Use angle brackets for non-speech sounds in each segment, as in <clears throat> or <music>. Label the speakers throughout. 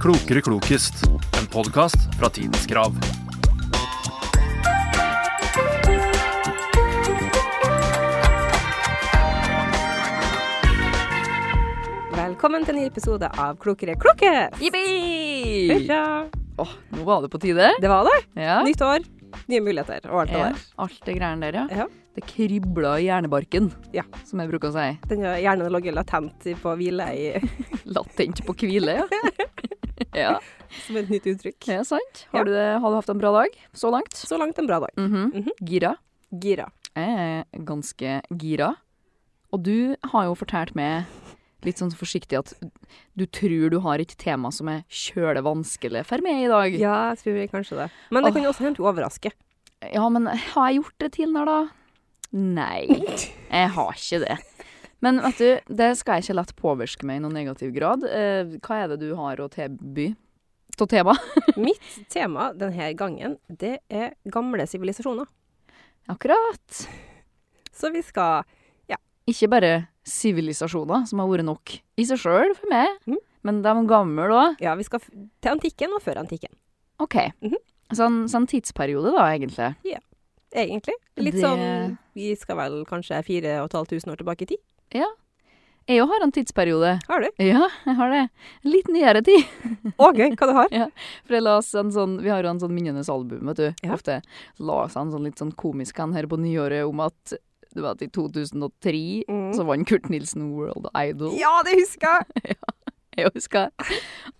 Speaker 1: Klokere klokest, en podkast fra Tidens Krav.
Speaker 2: Velkommen til en ny episode av Klokere kloke! <laughs>
Speaker 3: Jippi!
Speaker 2: Hurra!
Speaker 3: Åh, nå var det på tide.
Speaker 2: Det var det.
Speaker 3: Ja.
Speaker 2: Nytt år, nye muligheter og alt det
Speaker 3: Ja,
Speaker 2: der.
Speaker 3: Alt det greiene der, ja.
Speaker 2: Ja.
Speaker 3: Det kribla i hjernebarken,
Speaker 2: Ja.
Speaker 3: som jeg bruker å si.
Speaker 2: Den har hjernen ligget latent i- på hvile i, <laughs>
Speaker 3: Latent på hvile, ja. ja.
Speaker 2: som et nytt uttrykk.
Speaker 3: Det er sant.
Speaker 2: Ja.
Speaker 3: Har, du det, har du hatt en bra dag så langt?
Speaker 2: Så langt en bra dag.
Speaker 3: Mhm.
Speaker 2: Mhm.
Speaker 3: Gira.
Speaker 2: Gira.
Speaker 3: Jeg er ganske gira. Og du har jo fortalt meg litt sånn forsiktig at du tror du har et tema som er kjøle vanskelig for meg i dag.
Speaker 2: Ja, jeg tror kanskje det. Men det kan jo også hende du overrasker.
Speaker 3: Ja, men har jeg gjort det tidligere, da? Nei, jeg har ikke det. Men vet du, det skal jeg ikke lett påvirke meg i noen negativ grad. Eh, hva er det du har å tilby? Til tema?
Speaker 2: Mitt tema denne gangen, det er gamle sivilisasjoner.
Speaker 3: Akkurat.
Speaker 2: Så vi skal
Speaker 3: Ikke bare sivilisasjoner, som har vært nok i seg sjøl for meg,
Speaker 2: Mhm.
Speaker 3: men de gamle òg.
Speaker 2: Ja, vi skal f- til antikken og før antikken,
Speaker 3: OK.
Speaker 2: Mhm.
Speaker 3: Sånn, sånn tidsperiode, da, egentlig.
Speaker 2: egentlig. Litt
Speaker 3: Det-
Speaker 2: sånn Vi skal vel kanskje 4500 år tilbake i tid.
Speaker 3: Jeg òg har en tidsperiode.
Speaker 2: Har du?
Speaker 3: Ja, jeg har det. Litt nyere tid.
Speaker 2: Å, gøy! Hva du har?
Speaker 3: For jeg las en sånn, Vi har jo en sånn minnenes album, vet du.
Speaker 2: Ja.
Speaker 3: Ofte las han sånn litt sånn komisk han her på nyåret om at du vet, i 2003
Speaker 2: Mm.
Speaker 3: så vant Kurt Nilsen World Idol.
Speaker 2: Ja, det husker jeg!
Speaker 3: Jeg husker.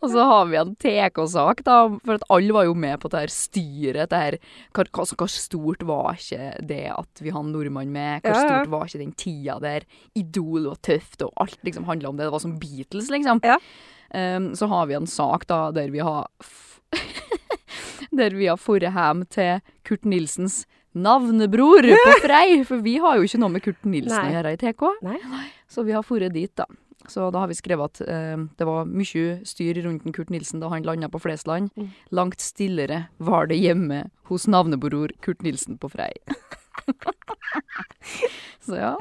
Speaker 3: Og så har vi en TK-sak, da, for at alle var jo med på det her styret. Det her, hva, hva, hva stort var ikke det at vi hadde nordmann med? Hvor
Speaker 2: Ja, ja.
Speaker 3: stort var ikke den tida der Idol var tøft, og alt liksom handla om det? Det var som Beatles, liksom.
Speaker 2: Ja.
Speaker 3: Ehm, så har vi en sak da der vi har f Der vi har dratt hjem til Kurt Nilsens navnebror på
Speaker 2: <laughs>
Speaker 3: Frei, for vi har jo ikke noe med Kurt Nilsen
Speaker 2: Nei.
Speaker 3: å gjøre i TK.
Speaker 2: Nei.
Speaker 3: Så vi har dratt dit, da. Så da har vi skrevet at eh, det var mye styr rundt den Kurt Nilsen da han landa på Flesland.
Speaker 2: Mm.
Speaker 3: Langt stillere var det hjemme hos navnebror Kurt Nilsen på Frei. <laughs> Så ja,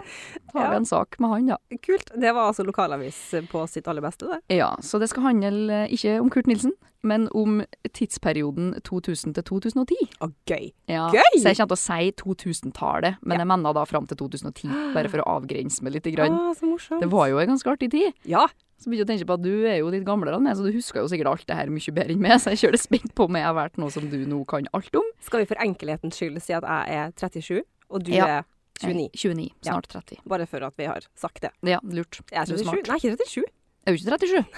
Speaker 3: da har
Speaker 2: Ja.
Speaker 3: vi en sak med han, da.
Speaker 2: Kult. Det var altså lokalavis på sitt aller beste, det.
Speaker 3: Ja, Så det skal handle eh, ikke om Kurt Nilsen, men om tidsperioden 2000 til 2010.
Speaker 2: Å, gøy.
Speaker 3: Ja.
Speaker 2: Gøy!
Speaker 3: Så jeg kommer til å si 2000-tallet, men jeg mener da fram til 2010, bare for å avgrense meg litt. Grann.
Speaker 2: Å, så morsomt.
Speaker 3: Det var jo ei ganske artig tid.
Speaker 2: Ja.
Speaker 3: Så begynte jeg å tenke på at du er jo litt gamlere enn meg, så du husker jo sikkert alt det her mye bedre enn meg, så jeg kjører spent på om jeg har vært noe som du nå kan alt om.
Speaker 2: Skal vi for enkelhetens skyld si at jeg er 37, og du
Speaker 3: Ja.
Speaker 2: er 29?
Speaker 3: Eh, 29,
Speaker 2: Ja.
Speaker 3: snart 30.
Speaker 2: Bare for at vi har sagt det.
Speaker 3: Ja, lurt.
Speaker 2: Jeg er
Speaker 3: Du
Speaker 2: 37.
Speaker 3: er smart.
Speaker 2: Nei, ikke 37.
Speaker 3: Er du ikke 37?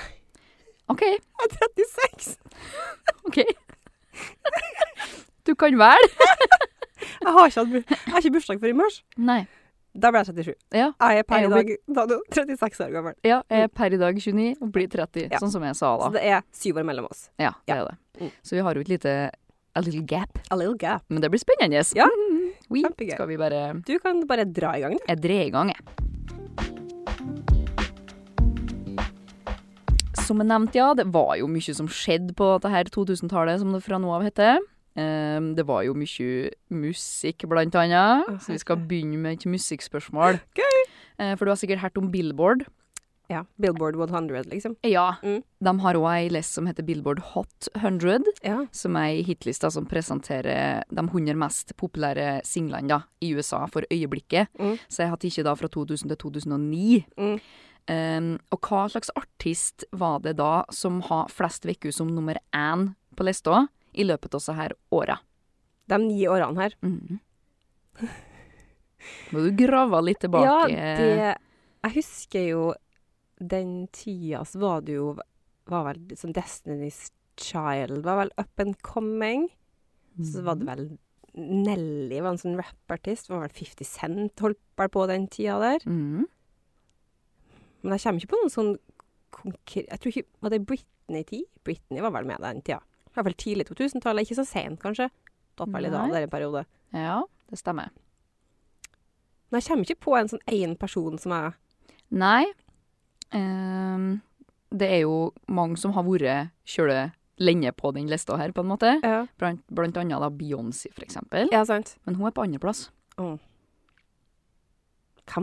Speaker 3: OK,
Speaker 2: Jeg er 36.
Speaker 3: OK. Du kan vel?
Speaker 2: Jeg har ikke, hatt bu- jeg har ikke bursdag for i mars.
Speaker 3: Nei.
Speaker 2: Da ble jeg 37.
Speaker 3: Ja.
Speaker 2: Jeg er per
Speaker 3: Jeg
Speaker 2: i dag da er du 36 år gammel.
Speaker 3: Ja, jeg er per i dag 29 og blir 30,
Speaker 2: Ja.
Speaker 3: sånn som jeg sa
Speaker 2: Så
Speaker 3: da.
Speaker 2: det er syv år mellom oss.
Speaker 3: Ja, det
Speaker 2: Ja.
Speaker 3: er det.
Speaker 2: Mm.
Speaker 3: Så vi har jo et lite A little gap.
Speaker 2: A little gap.
Speaker 3: Men det blir spennende. yes.
Speaker 2: Ja,
Speaker 3: Mm, <laughs> oui.
Speaker 2: kjempegøy.
Speaker 3: Skal vi bare
Speaker 2: Du kan bare dra i gang, du.
Speaker 3: Jeg dreier i gang, jeg. Som jeg nevnte, ja, det var jo mye som skjedde på dette her 2000-tallet, som det fra nå av heter. Ehm, det var jo mye musikk, blant annet.
Speaker 2: Å,
Speaker 3: Så vi skal begynne med et musikkspørsmål.
Speaker 2: <laughs> Gøy!
Speaker 3: Eh, for du har sikkert hørt om Billboard.
Speaker 2: Ja. Billboard 100, liksom.
Speaker 3: Ja.
Speaker 2: Mm.
Speaker 3: De har òg ei list som heter Billboard Hot 100,
Speaker 2: Ja.
Speaker 3: som er ei hitliste som presenterer de 100 mest populære singlene da, i USA for øyeblikket.
Speaker 2: Mm.
Speaker 3: Så jeg hadde ikke da fra 2000 til 2009.
Speaker 2: Mm.
Speaker 3: Um, og hva slags artist var det da som har flest uker som nummer én på lista i løpet av så her åra?
Speaker 2: De ni årene her.
Speaker 3: Mhm. Må du grave litt tilbake.
Speaker 2: Ja, det Jeg husker jo den tida så var det jo Var vel sånn Destiny's Child var vel up and coming.
Speaker 3: Mhm.
Speaker 2: Så var det vel Nelly var en sånn rappartist. Var vel 50 Cent holdt vel på den tida der.
Speaker 3: Mhm.
Speaker 2: Men jeg kommer ikke på noen sånn konkret Jeg tror ikke Var det Britney 10? Britney var vel med den tida. I hvert fall tidlig 2000-tallet. Ikke så sent, kanskje. Datt vel litt av
Speaker 3: Nei.
Speaker 2: der en periode.
Speaker 3: ja, det stemmer.
Speaker 2: Men jeg kommer ikke på en sånn én person som jeg
Speaker 3: Nei. Ehm, det er jo mange som har vært kjøle lenge på den lista her, på en måte.
Speaker 2: Ja,
Speaker 3: Blant, blant annet da Beyoncé, for eksempel.
Speaker 2: ja sant.
Speaker 3: Men hun er på andreplass.
Speaker 2: Hvem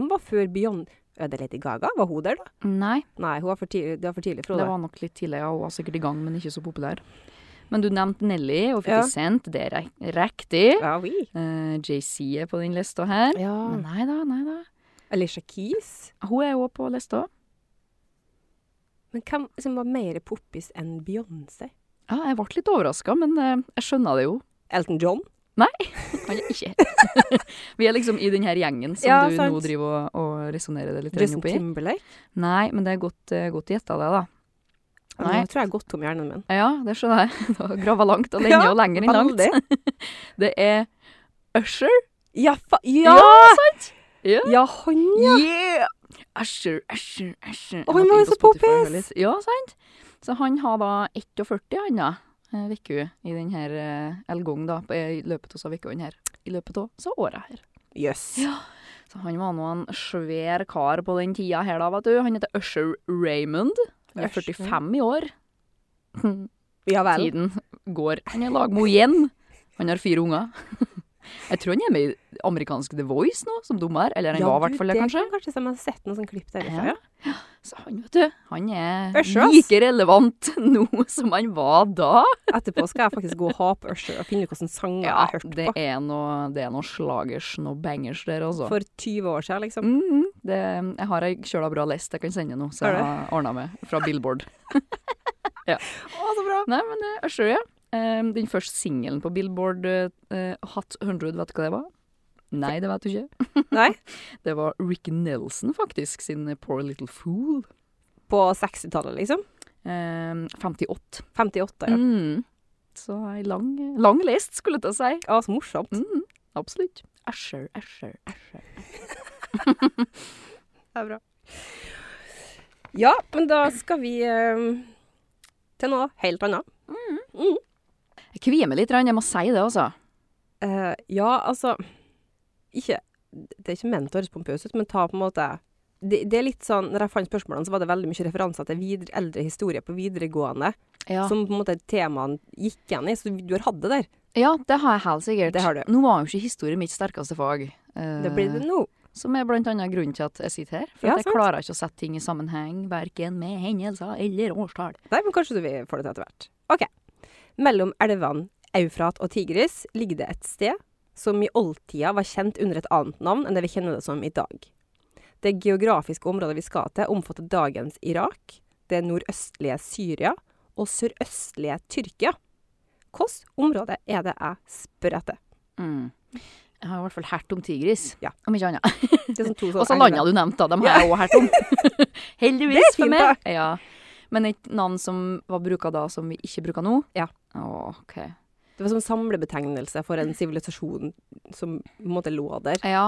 Speaker 2: var før Beyoncé? Er det Lady Gaga? Var hun der, da?
Speaker 3: Nei,
Speaker 2: Nei, hun var for tidlig, det var for tidlig,
Speaker 3: det
Speaker 2: Frode.
Speaker 3: var nok litt tidlig. Ja, hun var sikkert i gang, men ikke så populær. Men du nevnte Nelly og 50
Speaker 2: Ja.
Speaker 3: Cent. Det er rek- riktig.
Speaker 2: Ja, vi.
Speaker 3: Eh, JC er på den lista her. Men
Speaker 2: Ja.
Speaker 3: nei da, nei da.
Speaker 2: Alicia Keys.
Speaker 3: Hun er jo også på lista.
Speaker 2: Men hvem som var mer poppis enn Beyoncé?
Speaker 3: Ja, jeg ble litt overraska, men eh, jeg skjønner det jo.
Speaker 2: Elton John?
Speaker 3: Han er ikke <laughs> Vi er liksom i den her gjengen som
Speaker 2: Ja,
Speaker 3: du
Speaker 2: sant.
Speaker 3: nå driver og, og resonnerer det litt
Speaker 2: Justin
Speaker 3: oppi.
Speaker 2: Timberlake?
Speaker 3: Nei, men det er godt, eh, godt gjetta, det, da. Nei.
Speaker 2: Nå tror jeg godt om hjernen min.
Speaker 3: Ja, det skjønner jeg. <laughs> Du har grava langt og lenge
Speaker 2: Ja,
Speaker 3: og lenger enn langt.
Speaker 2: Veldig.
Speaker 3: <laughs> Det er Usher.
Speaker 2: Ja, fa ja!
Speaker 3: sant? Ja.
Speaker 2: ja, han
Speaker 3: Yeah! Usher, Usher, Usher. Jeg
Speaker 2: Å,
Speaker 3: måtte
Speaker 2: han var
Speaker 3: inn
Speaker 2: jo
Speaker 3: på
Speaker 2: så poppis!
Speaker 3: Spotify og høre litt. Ja, sant? Så han har da 41, han da. Uke i den her eh, elgong, da. på- I løpet av ukene her. I løpet av så året her.
Speaker 2: Jøss.
Speaker 3: Så han var nå en svær kar på den tida her, da, vet du. Han heter Usher Raymond. Han er
Speaker 2: Usher.
Speaker 3: 45 i år.
Speaker 2: Ja <laughs> vel.
Speaker 3: Tiden går. Han er lagmo igjen. Han har fire unger. <laughs> Jeg tror han er med i amerikansk The Voice nå, som dommer. Eller han
Speaker 2: Ja,
Speaker 3: var
Speaker 2: du,
Speaker 3: i hvert fall det,
Speaker 2: det
Speaker 3: kanskje.
Speaker 2: kan kanskje stemme. Jeg har sett noen sånne klipp derifra.
Speaker 3: Ja.
Speaker 2: Ja.
Speaker 3: Så han, vet du, han er
Speaker 2: Usher, ass.
Speaker 3: like relevant <laughs> nå som han var da.
Speaker 2: Etterpå skal jeg faktisk gå og ha på Usher og finne ut hvilke sanger jeg har hørt
Speaker 3: det
Speaker 2: på.
Speaker 3: er noe, det er noe slagers, noe bangers der, altså.
Speaker 2: For 20 år siden, liksom.
Speaker 3: Mhm, det, jeg har ei kjøla bra list jeg kan sende nå, så
Speaker 2: Har du?
Speaker 3: jeg har ordna med fra Billboard.
Speaker 2: Å,
Speaker 3: Mm.
Speaker 2: så bra!
Speaker 3: Nei, men eh, det er sjø, ja. Ehm, den første singelen på Billboard, eh, Hot 100, vet du hva det var? Nei, det vet du ikke. <laughs>
Speaker 2: Nei.
Speaker 3: Det var Rick Nelson, faktisk, sin eh, Poor Little Fool.
Speaker 2: På 60-tallet, liksom.
Speaker 3: Ehm, 58.
Speaker 2: 58, ja.
Speaker 3: Mm. Så ei lang, lang list, skulle jeg til å si.
Speaker 2: Å, så morsomt.
Speaker 3: Mm, absolutt. Asher, Asher, Asher.
Speaker 2: Det er bra. Ja, men da skal vi eh, til noe helt annet. Mm.
Speaker 3: Jeg kvier meg litt, grann, jeg må si det, altså.
Speaker 2: Eh, ja, altså ikke, Det er ikke ment å høres pompøs ut, men ta på en måte det, det er litt sånn, når jeg fant spørsmålene, så var det veldig mye referanser til videre, eldre historier på videregående.
Speaker 3: Ja.
Speaker 2: Som på en måte temaene gikk igjen i, så du, du har hatt det der.
Speaker 3: Ja, det har jeg helt sikkert.
Speaker 2: Det har du.
Speaker 3: Nå var jo ikke historie mitt sterkeste fag. eh,
Speaker 2: Det blir det nå.
Speaker 3: Som er blant annet grunnen til at jeg sitter her. For
Speaker 2: Ja,
Speaker 3: at jeg
Speaker 2: sant.
Speaker 3: klarer ikke å sette ting i sammenheng, verken med hendelser eller årstall.
Speaker 2: Nei, men kanskje du vil få det til etter hvert. OK. Mellom elvene Eufrat og Tigris ligger det et sted som i oldtida var kjent under et annet navn enn det vi kjenner det som i dag. Det geografiske området vi skal til, omfatter dagens Irak, det nordøstlige Syria og sørøstlige Tyrkia. Hvilket område er det jeg spør etter?
Speaker 3: Jeg har i hvert fall hørt om tigris.
Speaker 2: Mm. Ja.
Speaker 3: Om ikke annet.
Speaker 2: Det er sånn to
Speaker 3: <laughs> Og så
Speaker 2: sånne
Speaker 3: landene du nevnte, da, dem har jeg òg
Speaker 2: <laughs>
Speaker 3: hørt om.
Speaker 2: Det er
Speaker 3: Heldigvis for
Speaker 2: fint,
Speaker 3: meg. Ja. Men et navn som var bruka da, som vi ikke bruker nå?
Speaker 2: Ja.
Speaker 3: Å, OK.
Speaker 2: engler. Det var som samlebetegnelse for en sivilisasjon som på en måte lå der.
Speaker 3: Ja.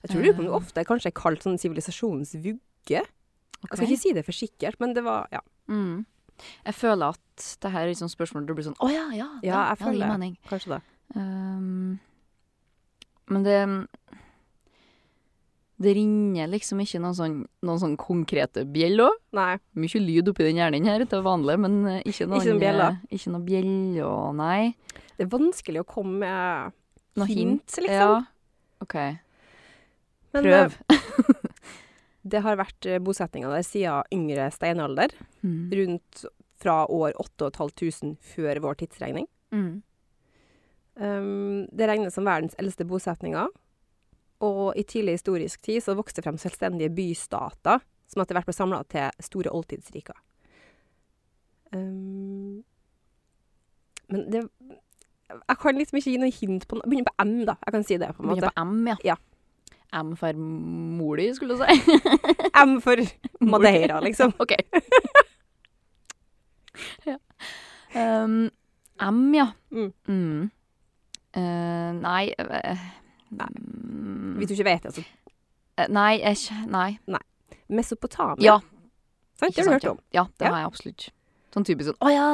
Speaker 2: Jeg tror det er
Speaker 3: Ah.
Speaker 2: ofte kanskje er kalt sånn sivilisasjonsvugge. Jeg skal
Speaker 3: ok.
Speaker 2: Altså, ikke si det for sikkert, men det var ja,
Speaker 3: Mm. Jeg føler at det her er et sånt spørsmål der du blir sånn Å ja, ja.
Speaker 2: Ja, jeg
Speaker 3: det gir
Speaker 2: føler det.
Speaker 3: mening.
Speaker 2: kanskje det.
Speaker 3: Ehm, men det Det ringer liksom ikke noen sånn, noen sånn konkrete bjeller.
Speaker 2: Nei.
Speaker 3: Mye lyd oppi den hjernen her til vanlig, men eh, ikke noen,
Speaker 2: Ikke noen bjeller.
Speaker 3: eh, Ikke noen bjeller, nei.
Speaker 2: Det er vanskelig å komme med
Speaker 3: Noe
Speaker 2: hint,
Speaker 3: hint,
Speaker 2: liksom.
Speaker 3: Ja. OK,
Speaker 2: Men
Speaker 3: prøv.
Speaker 2: eh, det har vært eh, bosetninger der siden yngre steinalder,
Speaker 3: Mm.
Speaker 2: rundt fra år 8500 før vår tidsregning.
Speaker 3: Mm.
Speaker 2: Um, det regnes som verdens eldste bosetninger, og i tidlig historisk tid så vokste frem selvstendige bystater, som etter hvert ble samla til store oldtidsriker. Um, men det Jeg kan liksom ikke gi noe hint på noe. Begynner på M, da. Jeg kan si det, på en måte.
Speaker 3: Begynner på M, ja.
Speaker 2: Ja.
Speaker 3: M for mor di, skulle du si. <laughs>
Speaker 2: M for Madeira, liksom.
Speaker 3: OK. <laughs> ja. Ehm, M, ja.
Speaker 2: Mm.
Speaker 3: Mm. Eh, nei eh,
Speaker 2: Nei.
Speaker 3: mm,
Speaker 2: Hvis du ikke vet det, så
Speaker 3: eh, Nei, jeg kj- Nei.
Speaker 2: Mesopotamia.
Speaker 3: Ja,
Speaker 2: sant? Det har
Speaker 3: ikke
Speaker 2: du
Speaker 3: sant,
Speaker 2: hørt
Speaker 3: ja.
Speaker 2: om.
Speaker 3: ja det
Speaker 2: Ja.
Speaker 3: har jeg absolutt. Sånn typisk sånn Å ja!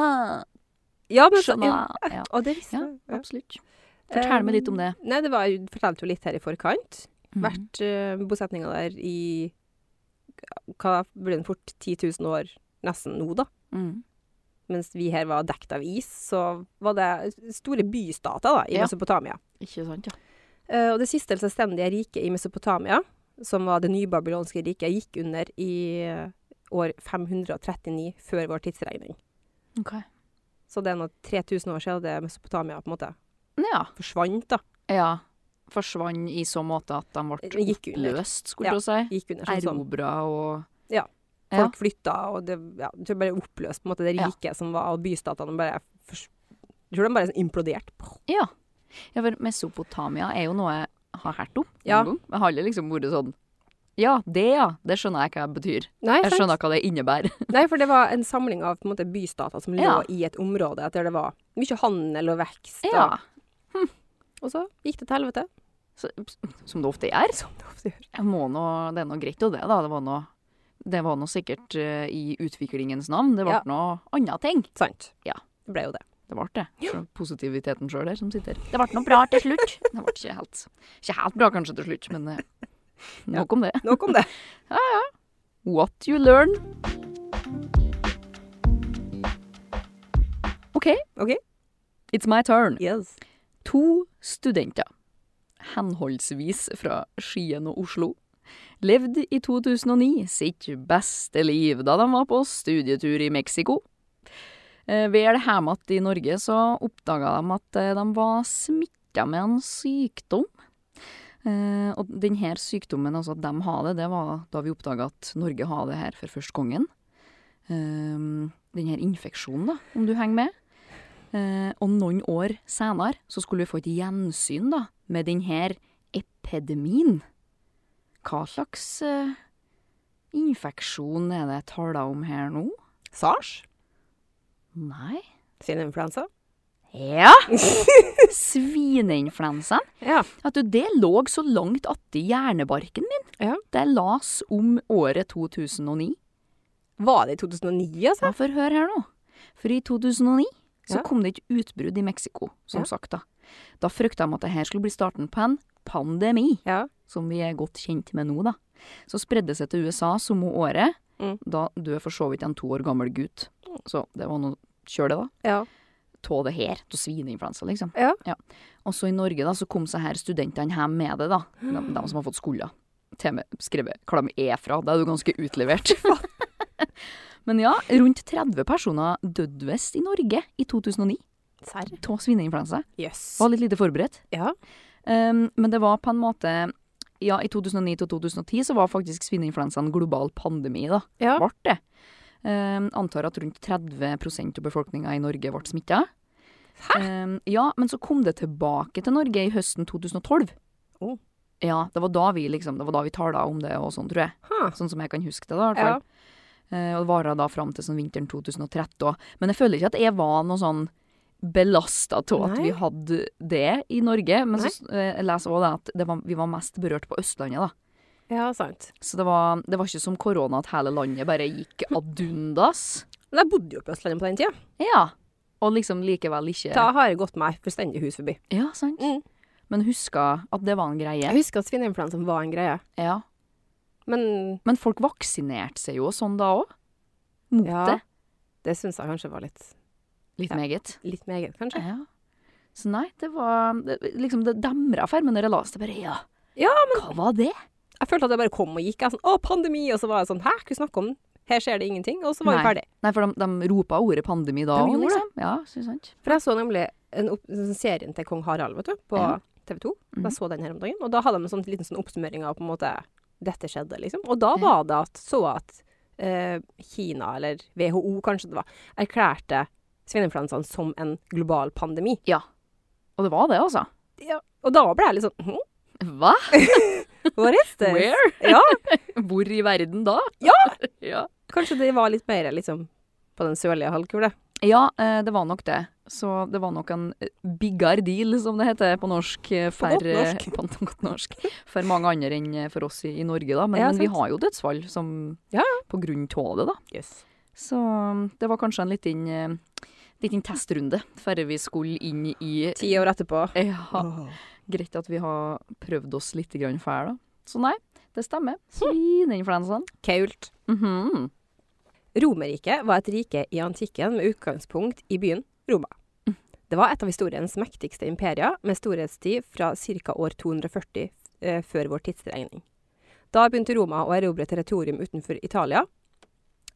Speaker 2: Ja, men så, sånn,
Speaker 3: Skjønner.
Speaker 2: ja.
Speaker 3: jeg». Ja,
Speaker 2: Og det visste
Speaker 3: Ja,
Speaker 2: jeg. Ja. Ehm,
Speaker 3: absolutt. Fortell meg litt om det.
Speaker 2: Nei, det var, jo- du fortalte jo litt her i forkant.
Speaker 3: Mhm.
Speaker 2: vært uh, bosetninger der i Hva blir den fort 10 000 år nesten nå, da?
Speaker 3: Mm.
Speaker 2: Mens vi her var dekt av is, så var det store bystater da, i
Speaker 3: Ja.
Speaker 2: Mesopotamia.
Speaker 3: Ikke sant, ja.
Speaker 2: Eh, og det siste selvstendige riket i Mesopotamia, som var det nybabylonske riket, gikk under i eh, år 539 før vår tidsregning.
Speaker 3: Ok.
Speaker 2: Så det er nå 3000 år siden det Mesopotamia på en måte
Speaker 3: Ja.
Speaker 2: forsvant, da.
Speaker 3: ja. Forsvant i så måte at de ble
Speaker 2: Gikk under.
Speaker 3: løst, skulle du si.
Speaker 2: Gikk under Eh, sånn som
Speaker 3: Erobra og ja.
Speaker 2: folk flytta, og det ja, jeg tror bare oppløst på en måte det
Speaker 3: Ja.
Speaker 2: riket som var, og bystatene bare fors- Jeg tror de bare sånn imploderte.
Speaker 3: Ja. ja, for Mesopotamia er jo noe jeg har hørt om. noen
Speaker 2: Ja.
Speaker 3: gang. Jeg har aldri liksom vært sånn Ja, det ja. Det skjønner jeg hva det betyr.
Speaker 2: Nei,
Speaker 3: Jeg
Speaker 2: sant?
Speaker 3: skjønner hva det innebærer.
Speaker 2: Nei, for det var en samling av på en måte, bystater som lå
Speaker 3: Ja.
Speaker 2: i et område der det var mye handel og vekst. og-
Speaker 3: Ja.
Speaker 2: Og så gikk det til helvete. <laughs>
Speaker 3: Så, som det ofte gjør. Jeg må nå, det er nå greit jo det, da. Det var nå det var nå sikkert eh, i utviklingens navn. Det ble
Speaker 2: Ja.
Speaker 3: nå andre ting.
Speaker 2: Sant.
Speaker 3: Ja.
Speaker 2: Det ble jo det.
Speaker 3: Det ble det. Så Positiviteten sjøl her som sitter. Det ble noe bra til slutt. Det ble ikke helt, ikke helt bra kanskje til slutt, men eh,
Speaker 2: Ja.
Speaker 3: nok om det.
Speaker 2: Nok
Speaker 3: <laughs>
Speaker 2: om det.
Speaker 3: What you learn. OK.
Speaker 2: Ok.
Speaker 3: It's my turn.
Speaker 2: Yes.
Speaker 3: To studenter, henholdsvis fra Skien og Oslo, levde i 2009 sitt beste liv da de var på studietur i Mexico. Eh, Vel hjemme att i Norge så oppdaga de at eh, de var smitta med en sykdom. Eh, Og denne sykdommen, altså at de har det, det var da vi oppdaga at Norge har det her for første gangen. Eh, Denne infeksjonen, da, om du henger med. Eh, og noen år senere så skulle vi få et gjensyn da, med denne epidemien. Hva slags eh, infeksjon er det jeg taler om her nå?
Speaker 2: Sars.
Speaker 3: Nei.
Speaker 2: Svineinfluensa.
Speaker 3: <laughs> Ja! Svineinfluensaen.
Speaker 2: Ja.
Speaker 3: At du, det lå så langt atti hjernebarken min.
Speaker 2: Ja.
Speaker 3: Det jeg las om året 2009.
Speaker 2: Var det i 2009, altså?
Speaker 3: Ja, for hør her nå. For i 2009 så
Speaker 2: Ja.
Speaker 3: kom det et utbrudd i Mexico, som
Speaker 2: Ja.
Speaker 3: sagt da. Da frykta de at dette skulle bli starten på en pandemi.
Speaker 2: Ja.
Speaker 3: som vi er godt kjent med nå, da. Så spredde seg til USA som hun året.
Speaker 2: Mm.
Speaker 3: Da døde for så vidt en to år gammel gutt. Så det var noe kjør det, da.
Speaker 2: Ja.
Speaker 3: Tå det her. Tå svineinfluensa, liksom.
Speaker 2: Ja.
Speaker 3: Og så i Norge, da, så kom så her studentene hjem med det, da. De, de som har fått skulda. Til og med skrevet hva de er fra. Da er du ganske utlevert. <laughs> Men ja, rundt 30 personer døde visst i Norge i 2009
Speaker 2: Serr.
Speaker 3: av svineinfluensa.
Speaker 2: Jøss.
Speaker 3: Var litt lite forberedt.
Speaker 2: Ja.
Speaker 3: Um, men det var på en måte Ja, i 2009 til 2010 så var faktisk svineinfluensa en global pandemi, da.
Speaker 2: Ja.
Speaker 3: Vart det. Um, antar at rundt 30 av befolkninga i Norge ble smitta. Um, ja, men så kom det tilbake til Norge i høsten 2012.
Speaker 2: Oh.
Speaker 3: Ja, det var da vi liksom, det var da vi tala om det og sånn, tror jeg.
Speaker 2: Huh.
Speaker 3: Sånn som jeg kan huske det, da. i hvert
Speaker 2: Ja.
Speaker 3: fall. Eh, Og det varer da fram til sånn vinteren 2013. også. Men jeg føler ikke at jeg var noe sånn belasta av at
Speaker 2: Nei.
Speaker 3: vi hadde det i Norge. Men så eh, jeg leser jeg òg at det var, vi var mest berørt på Østlandet, da.
Speaker 2: ja, sant.
Speaker 3: Så det var, det var ikke som korona at hele landet bare gikk ad
Speaker 2: <laughs>
Speaker 3: undas.
Speaker 2: Men jeg bodde jo på Østlandet på den tida.
Speaker 3: Ja. Og liksom likevel ikke
Speaker 2: Da har jeg gått meg fullstendig hus forbi.
Speaker 3: Ja, sant.
Speaker 2: Mm.
Speaker 3: Men huska at det var en greie.
Speaker 2: Jeg husker at svineinfluensa var en greie,
Speaker 3: Ja.
Speaker 2: men
Speaker 3: Men folk vaksinerte seg jo og sånn da òg. Mot
Speaker 2: Ja.
Speaker 3: det.
Speaker 2: det syns jeg kanskje var litt,
Speaker 3: Litt
Speaker 2: Ja.
Speaker 3: meget.
Speaker 2: litt meget, kanskje.
Speaker 3: Ja. Så nei, det var det, liksom Det demra for meg når jeg leste bare ja.
Speaker 2: Ja,
Speaker 3: Hva var det?
Speaker 2: Jeg følte at det bare kom og gikk. Jeg sånn, Å, pandemi! Og så var jeg sånn Hæ, hva snakker om? den? Her skjer det ingenting. Og så var vi
Speaker 3: Nei.
Speaker 2: ferdig.
Speaker 3: Nei, for de, de ropa ordet pandemi da
Speaker 2: De
Speaker 3: òg,
Speaker 2: gjorde det.
Speaker 3: liksom. Ja, så sant.
Speaker 2: For jeg så nemlig en opp, en serien til kong Harald vet du, på
Speaker 3: Ja.
Speaker 2: TV 2.
Speaker 3: Mhm.
Speaker 2: Jeg så den her om dagen. Og da hadde de en sånn liten sånn oppsummering av på en måte dette skjedde, liksom. Og da
Speaker 3: Ja.
Speaker 2: var det at så at eh, Kina, eller WHO kanskje det var, erklærte svineinfluensaen som en global pandemi.
Speaker 3: Og det var det, altså.
Speaker 2: Og da ble jeg litt sånn hm,
Speaker 3: Hva?
Speaker 2: What is this?
Speaker 3: <laughs> Where?
Speaker 2: Ja,
Speaker 3: Hvor i verden da?
Speaker 2: Ja!
Speaker 3: <laughs> ja.
Speaker 2: kanskje det var litt mer liksom på den sørlige halvkule.
Speaker 3: ja, eh, det var nok det. Så det var nok en eh, bigger deal, som det heter på norsk. eh,
Speaker 2: På godt
Speaker 3: for, eh,
Speaker 2: norsk.
Speaker 3: <laughs> På godt norsk. For mange andre enn eh, for oss i, i Norge, da. Men,
Speaker 2: Ja,
Speaker 3: men vi
Speaker 2: sant.
Speaker 3: har jo dødsfall som,
Speaker 2: Ja,
Speaker 3: på grunn av det, da.
Speaker 2: Yes.
Speaker 3: Så um, det var kanskje en liten, eh, liten testrunde før vi skulle inn i <laughs>
Speaker 2: Ti år etterpå.
Speaker 3: Ja, greit at vi har prøvd oss litt grann før, da. Så nei, det stemmer. Svineinfluensaen.
Speaker 2: Kult.
Speaker 3: sånn. Mhm.
Speaker 2: Romerriket var et rike i antikken med utgangspunkt i byen Roma. Det var et av historiens mektigste imperier, med storhetstid fra ca. år 240 eh, før vår tidsregning. Da begynte Roma å erobre territorium utenfor Italia,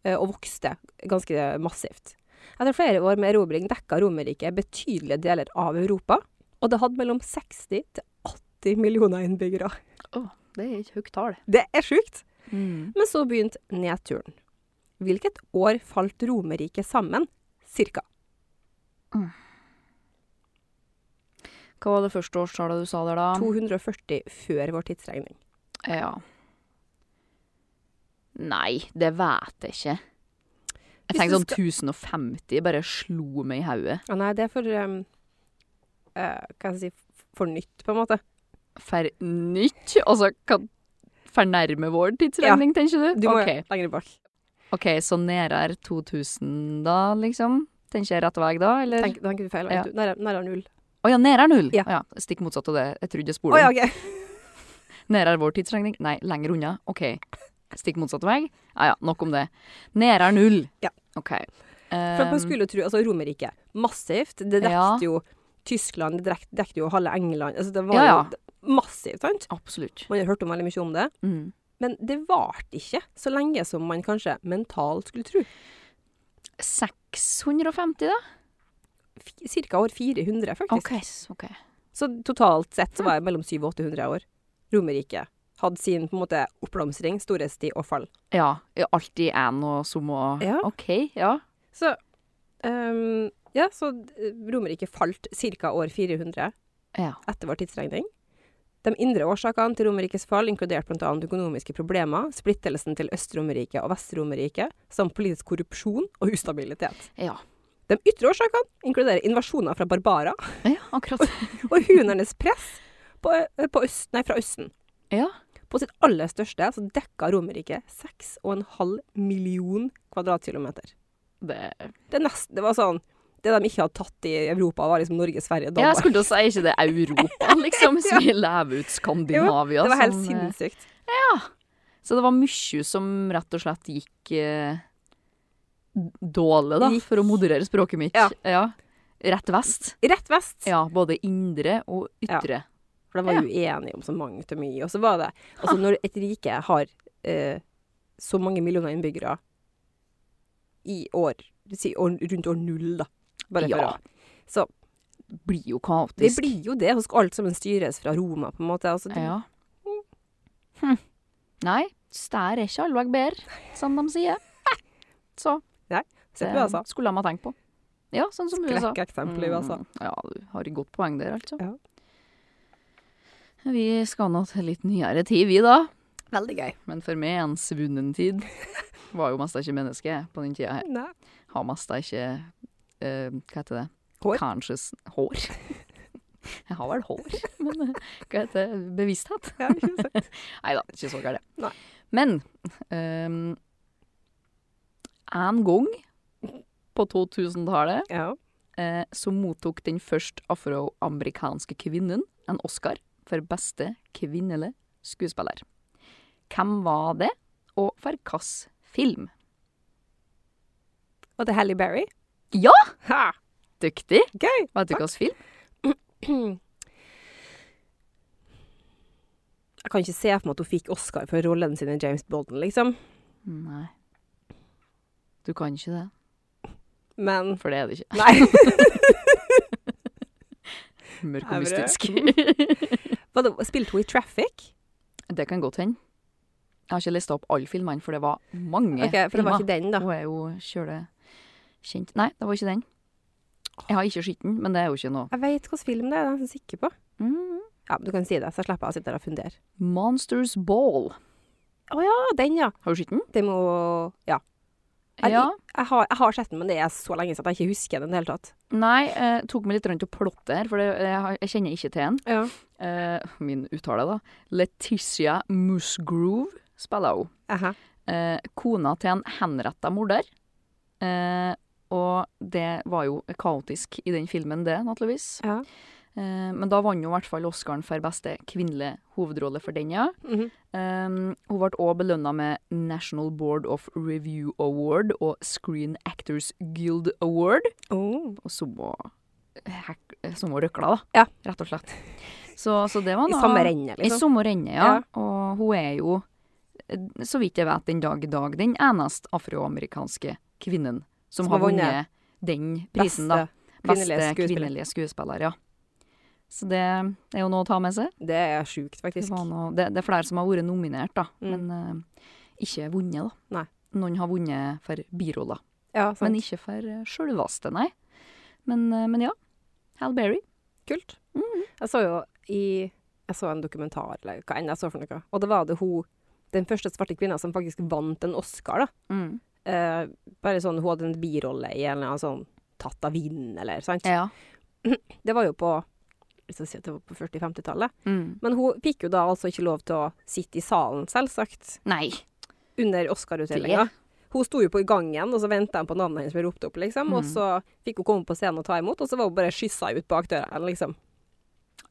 Speaker 2: eh, og vokste ganske massivt. Etter flere år med erobring dekka Romerriket betydelige deler av Europa, og det hadde mellom 60 til 80 millioner innbyggere.
Speaker 3: Det er et høyt tall.
Speaker 2: Det er sjukt!
Speaker 3: Mm.
Speaker 2: Men så begynte nedturen. Hvilket år falt Romerriket sammen? Cirka.
Speaker 3: Hva var det første årstallet du sa der, da?
Speaker 2: 240 før vår tidsregning.
Speaker 3: Ja. Nei, det vet jeg ikke. Jeg
Speaker 2: Hvis du
Speaker 3: tenkte sånn 1050 bare slo meg i hodet.
Speaker 2: Å nei, det er for um, eh, Hva skal jeg si f- For nytt, på en måte.
Speaker 3: For nytt? Altså, kan fornærme vår tidsregning, tenker du?
Speaker 2: Du må
Speaker 3: Ok.
Speaker 2: lenger bak.
Speaker 3: OK, så nærere 2000 da, liksom? Tenker jeg rett vei da, eller?
Speaker 2: Tenk, tenker du feil?
Speaker 3: Ja.
Speaker 2: Ja. Nærmere null.
Speaker 3: Å ja, nærere null!
Speaker 2: Ja.
Speaker 3: Å ja, Stikk motsatt av det jeg trodde jeg
Speaker 2: Å
Speaker 3: spurte om.
Speaker 2: ja, OK.
Speaker 3: Nærere vår tidsregning? Nei, lenger unna. OK. Stikk motsatt vei? Ja ja, nok om det. Nærere null.
Speaker 2: Ja.
Speaker 3: OK.
Speaker 2: For at
Speaker 3: Um,
Speaker 2: man skulle tro Altså, Romerriket. Massivt. Det dekket
Speaker 3: Ja.
Speaker 2: jo Tyskland, det dekket, dekket jo halve England. Altså, det var
Speaker 3: Ja, ja.
Speaker 2: jo d- massivt, sant?
Speaker 3: Absolutt.
Speaker 2: Man har hørt om veldig mye om det.
Speaker 3: Mm.
Speaker 2: Men det varte ikke så lenge som man kanskje mentalt skulle tro.
Speaker 3: 650, da?
Speaker 2: Ca. år 400, faktisk.
Speaker 3: ok.
Speaker 2: Så totalt sett så var jeg mellom 700 og 800 år. Romerriket hadde sin på en måte oppblomstring, storhetstid og fall.
Speaker 3: Ja. ja, Alltid en og som og
Speaker 2: Ja.
Speaker 3: OK, ja.
Speaker 2: Så ehm, Ja, så eh, Romerriket falt ca. år 400
Speaker 3: Ja.
Speaker 2: etter vår tidsregning. De indre årsakene til Romerrikets fall inkluderte bl.a. økonomiske problemer, splittelsen til Øst-Romerriket og Vest-Romerriket, samt politisk korrupsjon og ustabilitet.
Speaker 3: Ja,
Speaker 2: De ytre årsakene inkluderer invasjoner fra barbarer
Speaker 3: ja
Speaker 2: <laughs>
Speaker 3: akkurat.
Speaker 2: og hunernes press på, eh, på øst, nei, fra Østen.
Speaker 3: Ja.
Speaker 2: På sitt aller største så dekka Romerriket 6,5 million kvadratkilometer.
Speaker 3: Det.
Speaker 2: Det, er nest, det var sånn Det de ikke hadde tatt i Europa, var liksom Norge, Sverige,
Speaker 3: Jeg
Speaker 2: Danmark.
Speaker 3: skulle til å si er ikke det
Speaker 2: <laughs>
Speaker 3: Europa, liksom, som vi lever ut Skandinavia.
Speaker 2: det var helt
Speaker 3: som, eh,
Speaker 2: sinnssykt.
Speaker 3: Så det var mye som rett og slett gikk eh, dårlig, da,
Speaker 2: Gikk-
Speaker 3: for å moderere språket mitt.
Speaker 2: Ja.
Speaker 3: Rett vest.
Speaker 2: Rett vest.
Speaker 3: Ja, både indre og ytre.
Speaker 2: For de var uenige om så mangt og mye. Og så var det Altså,
Speaker 3: Ah.
Speaker 2: når et rike har eh, så mange millioner innbyggere i år, si år rundt år null, da Bare for
Speaker 3: Ja.
Speaker 2: å Så
Speaker 3: Blir jo
Speaker 2: det
Speaker 3: kaotisk.
Speaker 2: blir jo det. Så skal alt sammen styres fra Roma, på en måte. Altså, det,
Speaker 3: Ja. Hm. Nei, stær er ikke allveg bedre, som de sier.
Speaker 2: <laughs>
Speaker 3: Så
Speaker 2: Sett
Speaker 3: det
Speaker 2: du, altså.
Speaker 3: skulle de ha tenkt på. Ja, sånn som USA.
Speaker 2: Skrekkeksempel i USA.
Speaker 3: Mm, Ja, du har et godt poeng der, altså.
Speaker 2: Ja.
Speaker 3: Vi skal nå til litt nyere tid, vi da.
Speaker 2: Veldig gøy.
Speaker 3: Men for meg en svunnen
Speaker 2: <laughs>
Speaker 3: tid. Var jo mest ikke menneske på den tida her.
Speaker 2: Nei.
Speaker 3: Har mest ikke eh, Hva heter det?
Speaker 2: Hår?
Speaker 3: Conscious Hår. <laughs> Jeg har vel hår, men eh, hva heter det? Bevissthet?
Speaker 2: Ja, ikke sant.
Speaker 3: Nei da, ikke så gærent.
Speaker 2: Nei.
Speaker 3: Men ehm, en gang på 2000-tallet
Speaker 2: <laughs> ja.
Speaker 3: eh, så mottok den først afroamerikanske kvinnen en Oscar for beste kvinnelig skuespiller. Hvem var det, og for hvilken film?
Speaker 2: Og det er Halle Berry.
Speaker 3: Ja!
Speaker 2: Ha!
Speaker 3: Dyktig!
Speaker 2: Gøy! <clears throat>
Speaker 3: Vet du hvilken film?
Speaker 2: Jeg kan ikke se for meg at hun fikk Oscar for rollen sin i James Bolden, liksom.
Speaker 3: Nei. Du kan ikke det,
Speaker 2: Men
Speaker 3: for det er det ikke.
Speaker 2: Nei.
Speaker 3: Mørk
Speaker 2: Er
Speaker 3: og
Speaker 2: det?
Speaker 3: mystisk.
Speaker 2: Var det, spilte hun i Traffic?
Speaker 3: <laughs> det kan godt hende. Jeg har ikke lista opp alle filmene, for det var mange
Speaker 2: Ok, For det var
Speaker 3: filmer.
Speaker 2: ikke den, da.
Speaker 3: Hun er jo kjøle kjent. Nei, det var ikke den. Jeg har ikke sett den, men det er jo ikke noe.
Speaker 2: Jeg veit hvilken film det er, jeg er nesten sikker på.
Speaker 3: Mm.
Speaker 2: Ja, men Du kan si det, så slipper jeg å sitte der og fundere.
Speaker 3: Monsters Ball.
Speaker 2: Ja, den, ja.
Speaker 3: Har du sett den?
Speaker 2: Den må Ja. Jeg,
Speaker 3: Ja.
Speaker 2: jeg, har, jeg har sett den, men det er så lenge siden at jeg ikke husker den i det hele tatt.
Speaker 3: Nei, eh, tok meg litt rundt å plotte her, for det, jeg, har- jeg kjenner ikke til den.
Speaker 2: Ja.
Speaker 3: Eh, min uttale, da. Letitia Musgrove spiller hun.
Speaker 2: Aha.
Speaker 3: Eh, kona til en henretta morder. Eh, og det var jo kaotisk i den filmen, det, naturligvis.
Speaker 2: Ja.
Speaker 3: Eh, men da vant hun i hvert fall Oscaren for beste kvinnelige hovedrolle for den, ja.
Speaker 2: Mhm.
Speaker 3: Um, hun ble også belønna med National Board of Review Award og Screen Actors Guild Award.
Speaker 2: Åh.
Speaker 3: Og så må, hek- så må røkla, da.
Speaker 2: Ja.
Speaker 3: Rett og slett. Så, så det var
Speaker 2: I
Speaker 3: noe-
Speaker 2: samme rennet,
Speaker 3: I
Speaker 2: liksom.
Speaker 3: samme rennet, ja.
Speaker 2: Ja.
Speaker 3: Og hun er jo eh, så vidt jeg vet, den dag i dag den eneste afroamerikanske kvinnen som,
Speaker 2: Som
Speaker 3: har
Speaker 2: har vunnet.
Speaker 3: vunnet den prisen, da.
Speaker 2: kvinnelige skuespiller.
Speaker 3: kvinnelige skuespiller, ja. Så det er jo noe å ta med seg.
Speaker 2: Det er sjukt,
Speaker 3: Det,
Speaker 2: faktisk.
Speaker 3: var noe, det, det er flere som har vært nominert, da,
Speaker 2: Mm.
Speaker 3: men eh, ikke vunnet, da.
Speaker 2: Nei.
Speaker 3: Noen har vunnet for biroller,
Speaker 2: Ja, sant.
Speaker 3: men ikke for eh, sjølveste, nei. Men, eh, men ja. Hal Berry.
Speaker 2: Kult. Mhm. Jeg så jo i Jeg så en dokumentar, eller hva enn jeg så for noe, og da var det hun den første svarte kvinna som faktisk vant en Oscar, da. Eh, bare sånn, hun hadde en birolle i en eller annen sånn Tatt av vinden, eller sant.
Speaker 3: Ja.
Speaker 2: Det var jo på jeg skal si at det var på 40-50-tallet.
Speaker 3: Mm.
Speaker 2: Men hun fikk jo da altså ikke lov til å sitte i salen, selvsagt,
Speaker 3: Nei.
Speaker 2: under Oscar-utdelinga. Hun sto jo på gangen, og så venta de på navnet hennes ble ropt opp, liksom. Og
Speaker 3: Mm.
Speaker 2: så fikk hun komme på scenen og ta imot, og så var hun bare skyssa ut bak døra, liksom.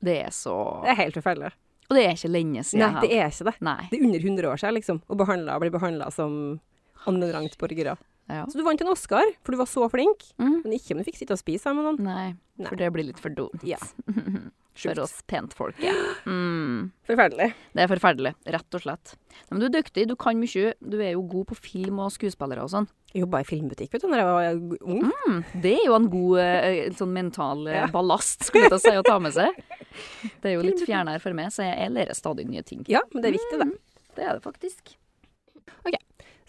Speaker 3: Det er så
Speaker 2: Det er helt forferdelig.
Speaker 3: Og det er ikke lenge siden.
Speaker 2: Nei, det er ikke det.
Speaker 3: Nei.
Speaker 2: Det er under 100 år siden, liksom, å behandle, bli behandla som annenrangsborgere.
Speaker 3: Ja.
Speaker 2: Så du vant en Oscar, for du var så flink.
Speaker 3: Mm.
Speaker 2: Men ikke om du fikk sitte og spise sammen med noen.
Speaker 3: Nei,
Speaker 2: Nei.
Speaker 3: for det blir litt for dumt.
Speaker 2: Ja.
Speaker 3: <laughs> For oss pentfolket. Mm.
Speaker 2: Forferdelig.
Speaker 3: Det er forferdelig, rett og slett. Nei, Men du er dyktig, du kan mye. Du er jo god på film og skuespillere og sånn.
Speaker 2: Jeg jobba i filmbutikk vet du, når jeg var ung.
Speaker 3: Mm. Det er jo en god eh, sånn mental eh, ballast, skulle jeg til å si, å ta med <laughs> seg. Det er jo litt fjernere for meg, så jeg, jeg lærer stadig nye ting.
Speaker 2: Ja, men det er viktig, det.
Speaker 3: Det er det faktisk.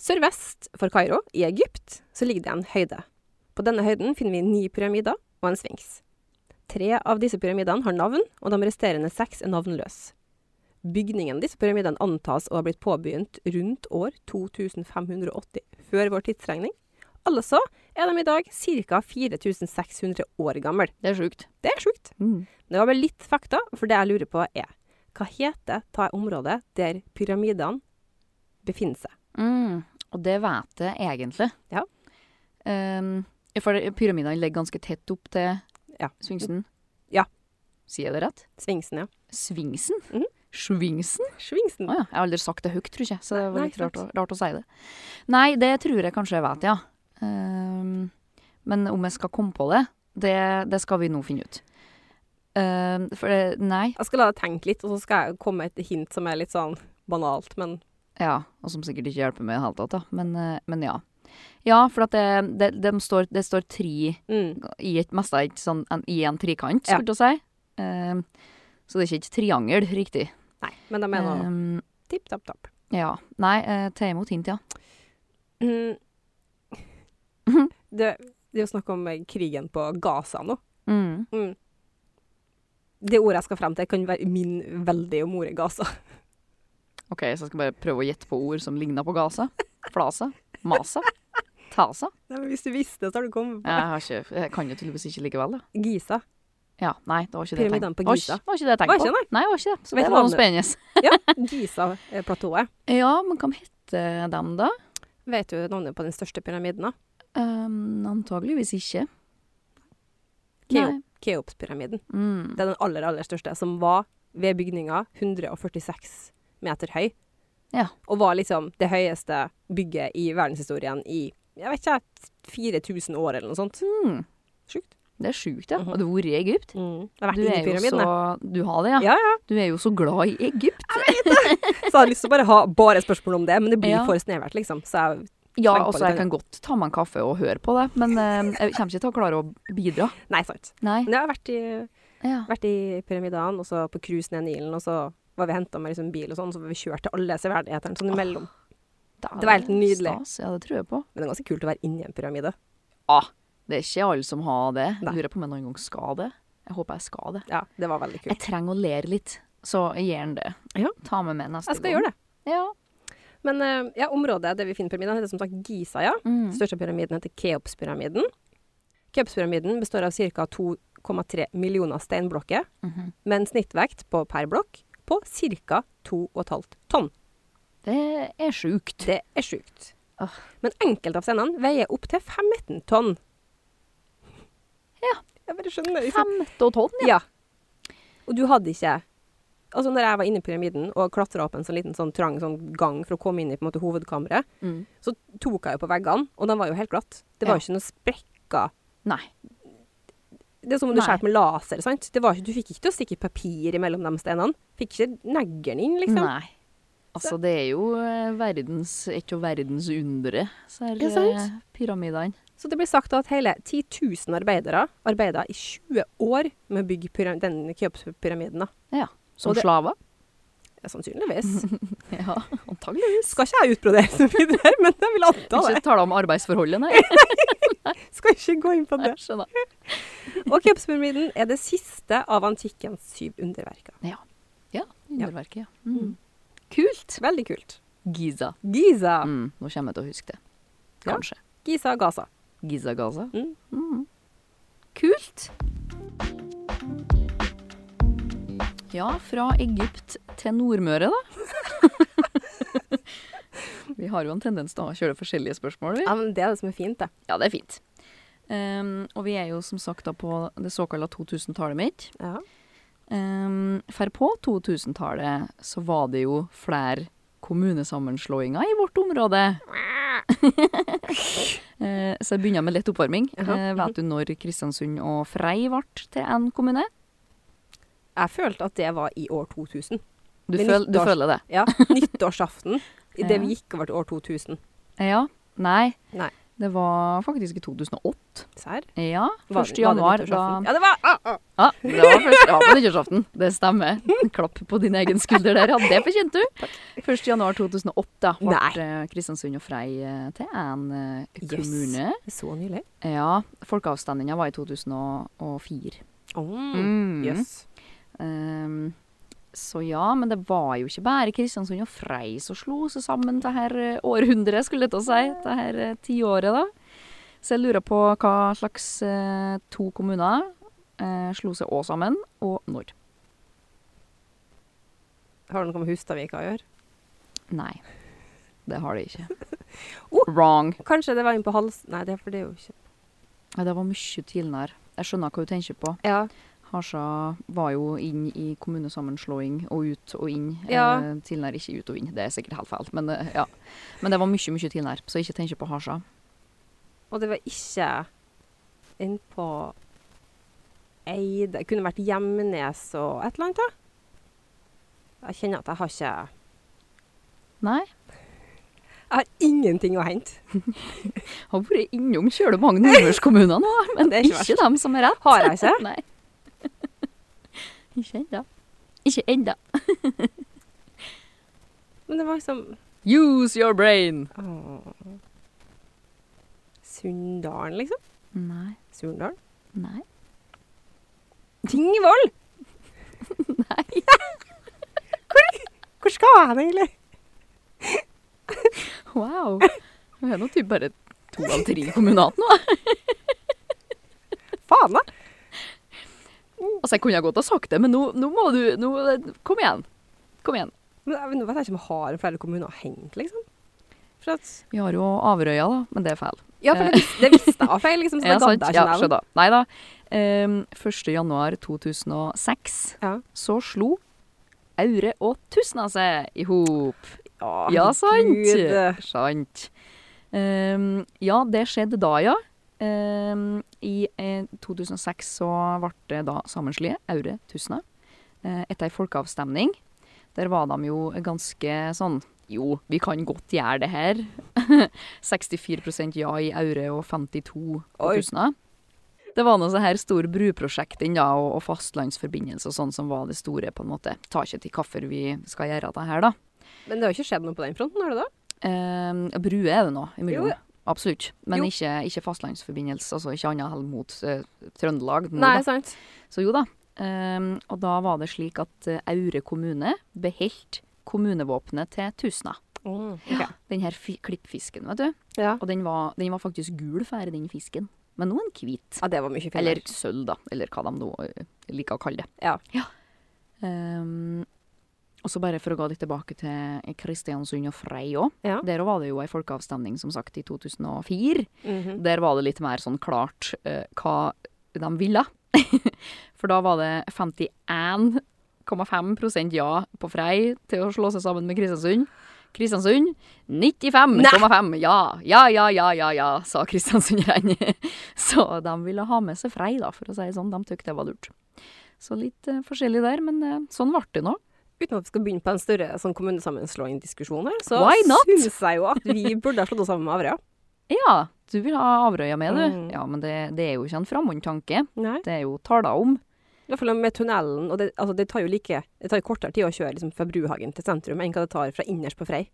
Speaker 2: Sørvest for Kairo, i Egypt, så ligger det en høyde. På denne høyden finner vi ni pyramider og en sfinks. Tre av disse pyramidene har navn, og de resterende seks er navnløse. Bygningen av disse pyramidene antas å ha blitt påbegynt rundt år 2580 før vår tidsregning. Altså er de i dag ca. 4600 år gamle.
Speaker 3: Det er sjukt.
Speaker 2: Det er sjukt.
Speaker 3: Mm.
Speaker 2: Det var bare litt fakta, for det jeg lurer på er Hva heter det området der pyramidene befinner seg?
Speaker 3: Mm, og det vet jeg egentlig.
Speaker 2: Ja.
Speaker 3: Ehm, for pyramidene ligger ganske tett opp til
Speaker 2: Ja.
Speaker 3: Sfinksen.
Speaker 2: Ja.
Speaker 3: Sier jeg det rett?
Speaker 2: Sfinksen, ja.
Speaker 3: Sfinksen?
Speaker 2: Mhm.
Speaker 3: Svingsen?
Speaker 2: Svingsen.
Speaker 3: Å ja. Jeg har aldri sagt det høyt, tror jeg, så det var
Speaker 2: Nei,
Speaker 3: litt rart å,
Speaker 2: sant.
Speaker 3: rart å si det. Nei, det tror jeg kanskje jeg vet, ja. Ehm, men om jeg skal komme på det, det, det skal vi nå finne ut. Ehm, for det, nei.
Speaker 2: Jeg skal la deg tenke litt, og så skal jeg komme med et hint som er litt sånn banalt, men
Speaker 3: Ja, og som sikkert ikke hjelper meg i det hele tatt, da. Men, eh, men ja. Ja, for at det, det, dem står, det står tre
Speaker 2: mm,
Speaker 3: i et mest av et sånn, en, i en trikant,
Speaker 2: Ja.
Speaker 3: skulle jeg til å si. Ehm, så det er ikke et triangel, riktig.
Speaker 2: Nei. Men de er nå
Speaker 3: Ehm,
Speaker 2: tipp tapp tapp.
Speaker 3: ja. Nei, eh, ta imot hint, ja. <laughs>
Speaker 2: Mm. Det, det er jo snakk om eh, krigen på Gaza nå.
Speaker 3: Mm.
Speaker 2: Mm. Det ordet jeg skal frem til, kan være min veldig om ordet Gaza. <laughs>
Speaker 3: OK, så jeg skal bare prøve å gjette på ord som ligner på Gaza. Flasa. Masa. Tasa.
Speaker 2: Nei, men hvis du visste, så har du kommet på
Speaker 3: Jeg, har ikke, jeg kan jo tydeligvis ikke likevel, da.
Speaker 2: Giza.
Speaker 3: Ja, nei, det var ikke det jeg
Speaker 2: Pyramidene
Speaker 3: tenkte
Speaker 2: på
Speaker 3: Var
Speaker 2: Giza.
Speaker 3: ikke- Var ikke det jeg tenkte
Speaker 2: Var ikke
Speaker 3: på. Nei, det var ikke det. Så
Speaker 2: Vet du
Speaker 3: det var
Speaker 2: hva
Speaker 3: noe
Speaker 2: det-
Speaker 3: spennende.
Speaker 2: Ja, Giza-platået.
Speaker 3: Ja, men hva heter dem, da?
Speaker 2: Vet du navnet på den største pyramiden? da?
Speaker 3: Um, antageligvis ikke.
Speaker 2: Keo- Keopspyramiden.
Speaker 3: Mm.
Speaker 2: Det er den aller, aller største, som var ved bygninga 146 meter høy.
Speaker 3: Ja.
Speaker 2: Og var liksom det høyeste bygget i verdenshistorien i jeg vet ikke, 4000 år eller noe sånt.
Speaker 3: Mm.
Speaker 2: Sjukt.
Speaker 3: Det er sjukt, ja.
Speaker 2: Mhm.
Speaker 3: Har du vært i Egypt?
Speaker 2: Mm. Jeg har vært
Speaker 3: Mm. Du
Speaker 2: inne i
Speaker 3: er jo
Speaker 2: pyramiden,
Speaker 3: så
Speaker 2: jeg.
Speaker 3: Du har det, ja.
Speaker 2: Ja, ja.
Speaker 3: Du er jo så glad i Egypt.
Speaker 2: Så jeg hadde lyst til å bare ha bare spørsmål om det, men det blir
Speaker 3: Ja.
Speaker 2: for snevert, liksom. Så jeg,
Speaker 3: Ja,
Speaker 2: Tenk på
Speaker 3: altså
Speaker 2: det,
Speaker 3: jeg kan godt ta meg en kaffe og høre på det, men eh, jeg kommer ikke til å klare å bidra.
Speaker 2: nei, sant.
Speaker 3: Nei.
Speaker 2: Men jeg har vært i,
Speaker 3: Ja.
Speaker 2: vært i pyramidene, og så på cruise ned Nilen, og så var vi henta med liksom bil og sånn, så var vi kjørt til alle severdighetene sånn imellom.
Speaker 3: Da er
Speaker 2: Det var helt nydelig.
Speaker 3: Stas. Ja, det tror jeg på.
Speaker 2: Men det er ganske kult å være inni en pyramide.
Speaker 3: Det er ikke alle som har det.
Speaker 2: Nei.
Speaker 3: Jeg lurer på om jeg noen gang skal det. Jeg håper jeg skal det.
Speaker 2: Ja, det var veldig kult.
Speaker 3: Jeg trenger å lære litt, så jeg gjør den det.
Speaker 2: Ja.
Speaker 3: Ta med meg neste
Speaker 2: Jeg skal gjøre det.
Speaker 3: det. Ja.
Speaker 2: Men eh, ja, området der vi finner pyramiden, heter som sagt Giza, ja.
Speaker 3: Mm.
Speaker 2: Største pyramiden heter Keopspyramiden. Keopspyramiden består av ca. 2,3 millioner steinblokker,
Speaker 3: Mhm.
Speaker 2: med en snittvekt på per blokk på ca. 2,5 tonn.
Speaker 3: Det er sjukt.
Speaker 2: Det er sjukt.
Speaker 3: Åh.
Speaker 2: Men enkelte av steinene veier opptil 15 tonn.
Speaker 3: Ja.
Speaker 2: Jeg bare skjønner liksom.
Speaker 3: Femte og tolv, ja.
Speaker 2: Ja. Og du hadde ikke Altså, når jeg var inne i pyramiden og klatra opp en sånn liten sånn trang sånn gang for å komme inn i på en måte, hovedkammeret,
Speaker 3: Mm.
Speaker 2: så tok jeg jo på veggene, og de var jo helt glatt. Det var
Speaker 3: Ja.
Speaker 2: jo ikke noe sprekker.
Speaker 3: Nei.
Speaker 2: Det er som om du
Speaker 3: Nei.
Speaker 2: skjærer med laser, sant? Det var ikke, du fikk ikke til å stikke papir imellom de steinene. Fikk ikke neggeren inn, liksom.
Speaker 3: Nei. Altså, det er jo eh, verdens, et av verdens undere, så her
Speaker 2: Ja, sant?
Speaker 3: eh, pyramidene.
Speaker 2: Så det blir sagt at hele 10 000 arbeidere arbeidet i 20 år med å bygge pyra- denne Keops-pyramiden. da.
Speaker 3: Som
Speaker 2: Og det-
Speaker 3: slaver.
Speaker 2: Ja, sannsynligvis.
Speaker 3: <laughs> Ja, antageligvis.
Speaker 2: Skal ikke jeg utbrodere så mye der, men jeg vil anta
Speaker 3: Ikke
Speaker 2: det.
Speaker 3: tale om
Speaker 2: <laughs>
Speaker 3: arbeidsforholdet, nei.
Speaker 2: Skal ikke gå inn på det.
Speaker 3: Jeg skjønner.
Speaker 2: Og Keops-pyramiden er det siste av antikkens syv underverker.
Speaker 3: Underverket, ja.
Speaker 2: Mm.
Speaker 3: Mm. Kult.
Speaker 2: Veldig kult.
Speaker 3: Giza.
Speaker 2: Giza.
Speaker 3: Mm, nå kommer jeg til å huske det.
Speaker 2: Ja.
Speaker 3: Kanskje.
Speaker 2: Giza og Gaza.
Speaker 3: Giza Gaza.
Speaker 2: Mm.
Speaker 3: Mm. Kult. Ja, fra Egypt til Nordmøre, da. <laughs> vi har jo en tendens til å kjøre forskjellige spørsmål. Vi.
Speaker 2: Ja, men Det er det som er fint, det.
Speaker 3: Ja, det er fint. Ehm, og vi er jo som sagt da på det såkalla 2000-tallet mitt.
Speaker 2: Ja.
Speaker 3: Um, for på 2000-tallet så var det jo flere kommunesammenslåinger i vårt
Speaker 2: <laughs>
Speaker 3: område. Eh, så jeg begynner med lett oppvarming.
Speaker 2: Jaha.
Speaker 3: Eh, vet du når Kristiansund og Frei ble til én kommune?
Speaker 2: Jeg følte at det var i år <laughs> 2000.
Speaker 3: Du,
Speaker 2: Ved
Speaker 3: føl, du
Speaker 2: nyttårs-
Speaker 3: føler det?
Speaker 2: Ja, nyttårsaften. I det
Speaker 3: Ja.
Speaker 2: vi gikk over til år 2000.
Speaker 3: Ja. Nei.
Speaker 2: Nei.
Speaker 3: Det var faktisk i 2008.
Speaker 2: Serr?
Speaker 3: Ja.
Speaker 2: Var-
Speaker 3: 1.
Speaker 2: var det
Speaker 3: januar. Da,
Speaker 2: nyttårsaften? Ja, det var ah, ah.
Speaker 3: ja, det var først, ja, på nyttårsaften. Det stemmer. Klapp på din egen skulder der. Ja, det fortjente du. 1. januar 2008 da, ble
Speaker 2: Nei.
Speaker 3: eh, Kristiansund og Frei eh, til én eh,
Speaker 2: Yes.
Speaker 3: kommune.
Speaker 2: Så nylig.
Speaker 3: Ja, folkeavstemninga var i 2004.
Speaker 2: Jøss.
Speaker 3: Mm. Ehm, så ja, men det var jo ikke bare Kristiansund og Frei som slo seg sammen det her eh, århundret, skulle jeg til å si. Det her eh, tiåret, da. Så jeg lurer på hva slags eh, to kommuner eh, slo seg òg sammen, og når.
Speaker 2: Har du noe med Hustadvika å gjøre?
Speaker 3: Nei, det har de ikke.
Speaker 2: <laughs> Oh.
Speaker 3: Wrong.
Speaker 2: Kanskje det var inn på hals... Nei, det, er- for det er jo ikke
Speaker 3: Ja, det var mye tidligere. Jeg skjønner hva du tenker på.
Speaker 2: Ja.
Speaker 3: Hasja var jo inn i kommunesammenslåing og ut og inn.
Speaker 2: Ja.
Speaker 3: Eh, tidligere ikke ut og inn, det er sikkert helt feil, men, eh, ja. men det var mye, mye tidligere, så ikke tenk på Hasja.
Speaker 2: Og det var ikke inn på Eide Det kunne vært Hjemnes og et eller annet, da. Jeg kjenner at jeg har ikke
Speaker 3: Nei,
Speaker 2: Jeg har ingenting å hente.
Speaker 3: har vært innom kjøle mange
Speaker 2: <laughs>
Speaker 3: nordmørskommuner nå, men
Speaker 2: Det
Speaker 3: det
Speaker 2: er
Speaker 3: er
Speaker 2: ikke
Speaker 3: ikke, dem som er rett.
Speaker 2: Har jeg ikke?
Speaker 3: <laughs> Nei. ikke enda. Ikke enda.
Speaker 2: Men det var liksom
Speaker 3: Use your brain!
Speaker 2: åh. Sunndalen, liksom.
Speaker 3: Nei,
Speaker 2: Surndalen.
Speaker 3: nei.
Speaker 2: Tingvoll! <laughs>
Speaker 3: Nei.
Speaker 2: Hvor skal jeg hen, egentlig?
Speaker 3: Wow. Vi er nå typ bare to av tre kommuner nå.
Speaker 2: Faen, da!
Speaker 3: Altså, jeg kunne godt ha sagt det, men nå, nå må du, nå, kom igjen. Kom igjen.
Speaker 2: Men jeg- Nå vet jeg ikke om jeg har flere kommuner å hente, liksom. For at, eh,
Speaker 3: Vi har jo Averøya, da, men det er feil.
Speaker 2: ja, for det, vis, det visste jeg var feil, liksom. Så det gadd jeg
Speaker 3: ja,
Speaker 2: ikke nevne.
Speaker 3: skjønner. Nei da. Ehm, 1. januar 2006
Speaker 2: Ja.
Speaker 3: så slo Aure og Tusna seg i hop.
Speaker 2: Å,
Speaker 3: Ja,
Speaker 2: herregud.
Speaker 3: sant. <laughs> Sant. Ehm, ja, det skjedde da, ja. Ehm, I eh, 2006 så ble det da sammenslått, Aure Tusna, eh, etter ei folkeavstemning. Der var de jo ganske sånn Jo, vi kan godt gjøre det her. <laughs> 64 ja i Aure og 52 på
Speaker 2: Oi.
Speaker 3: Tusna. Det var noe så her store bruprosjekter da, og, og fastlandsforbindelse og sånn som var det store, på en måte. Ta ikke til hvorfor vi skal gjøre det her, da.
Speaker 2: Men det har jo ikke skjedd noe på den fronten, har det da?
Speaker 3: Um, brue er det nå,
Speaker 2: Jo,
Speaker 3: imellom.
Speaker 2: ja.
Speaker 3: Absolutt. Men
Speaker 2: Jo.
Speaker 3: ikke, ikke fastlandsforbindelse, altså ikke annet enn mot eh, Trøndelag. nå
Speaker 2: Nei,
Speaker 3: da.
Speaker 2: sant.
Speaker 3: Så jo da. Um, og da var det slik at eh, Aure kommune beholdt kommunevåpenet til Tusna.
Speaker 2: Ja.
Speaker 3: Den her fi- klippfisken, vet du.
Speaker 2: Mm, Ja.
Speaker 3: Og den var, den var faktisk gul før, den fisken. Men nå er den hvit.
Speaker 2: det var mye finere.
Speaker 3: Eller sølv, da. Eller hva de nå eh, liker å kalle det.
Speaker 2: Ja.
Speaker 3: Um, og så bare for å gå litt tilbake til Kristiansund og Frei òg.
Speaker 2: Ja.
Speaker 3: Der var det jo ei folkeavstemning, som sagt, i 2004.
Speaker 2: Mhm.
Speaker 3: Der var det litt mer sånn klart eh, hva de ville. <laughs> For da var det 51,5 ja på Frei til å slå seg sammen med Kristiansund. Kristiansund 95,5 ja, ja, ja, ja, ja, ja, sa Kristiansunderne. <laughs> Så de ville ha med seg Frei, da, for å si det sånn. De tykte det var lurt. Så litt eh, forskjellig der, men eh, sånn ble det nå.
Speaker 2: Uten at vi skal begynne på en større sånn kommunesammenslåing-diskusjon her, så
Speaker 3: Why not?
Speaker 2: syns jeg jo at vi burde ha slått oss sammen med Averøya.
Speaker 3: Ja, du vil ha Averøya med, du.
Speaker 2: Mm.
Speaker 3: Ja, men det, det er jo ikke en framhånd tanke.
Speaker 2: Nei.
Speaker 3: Det er jo tala om.
Speaker 2: I hvert fall med tunnelen, og det, altså, det tar jo like Det tar jo kortere tid å kjøre liksom, fra Bruhagen til sentrum enn hva det tar fra innerst på Frei.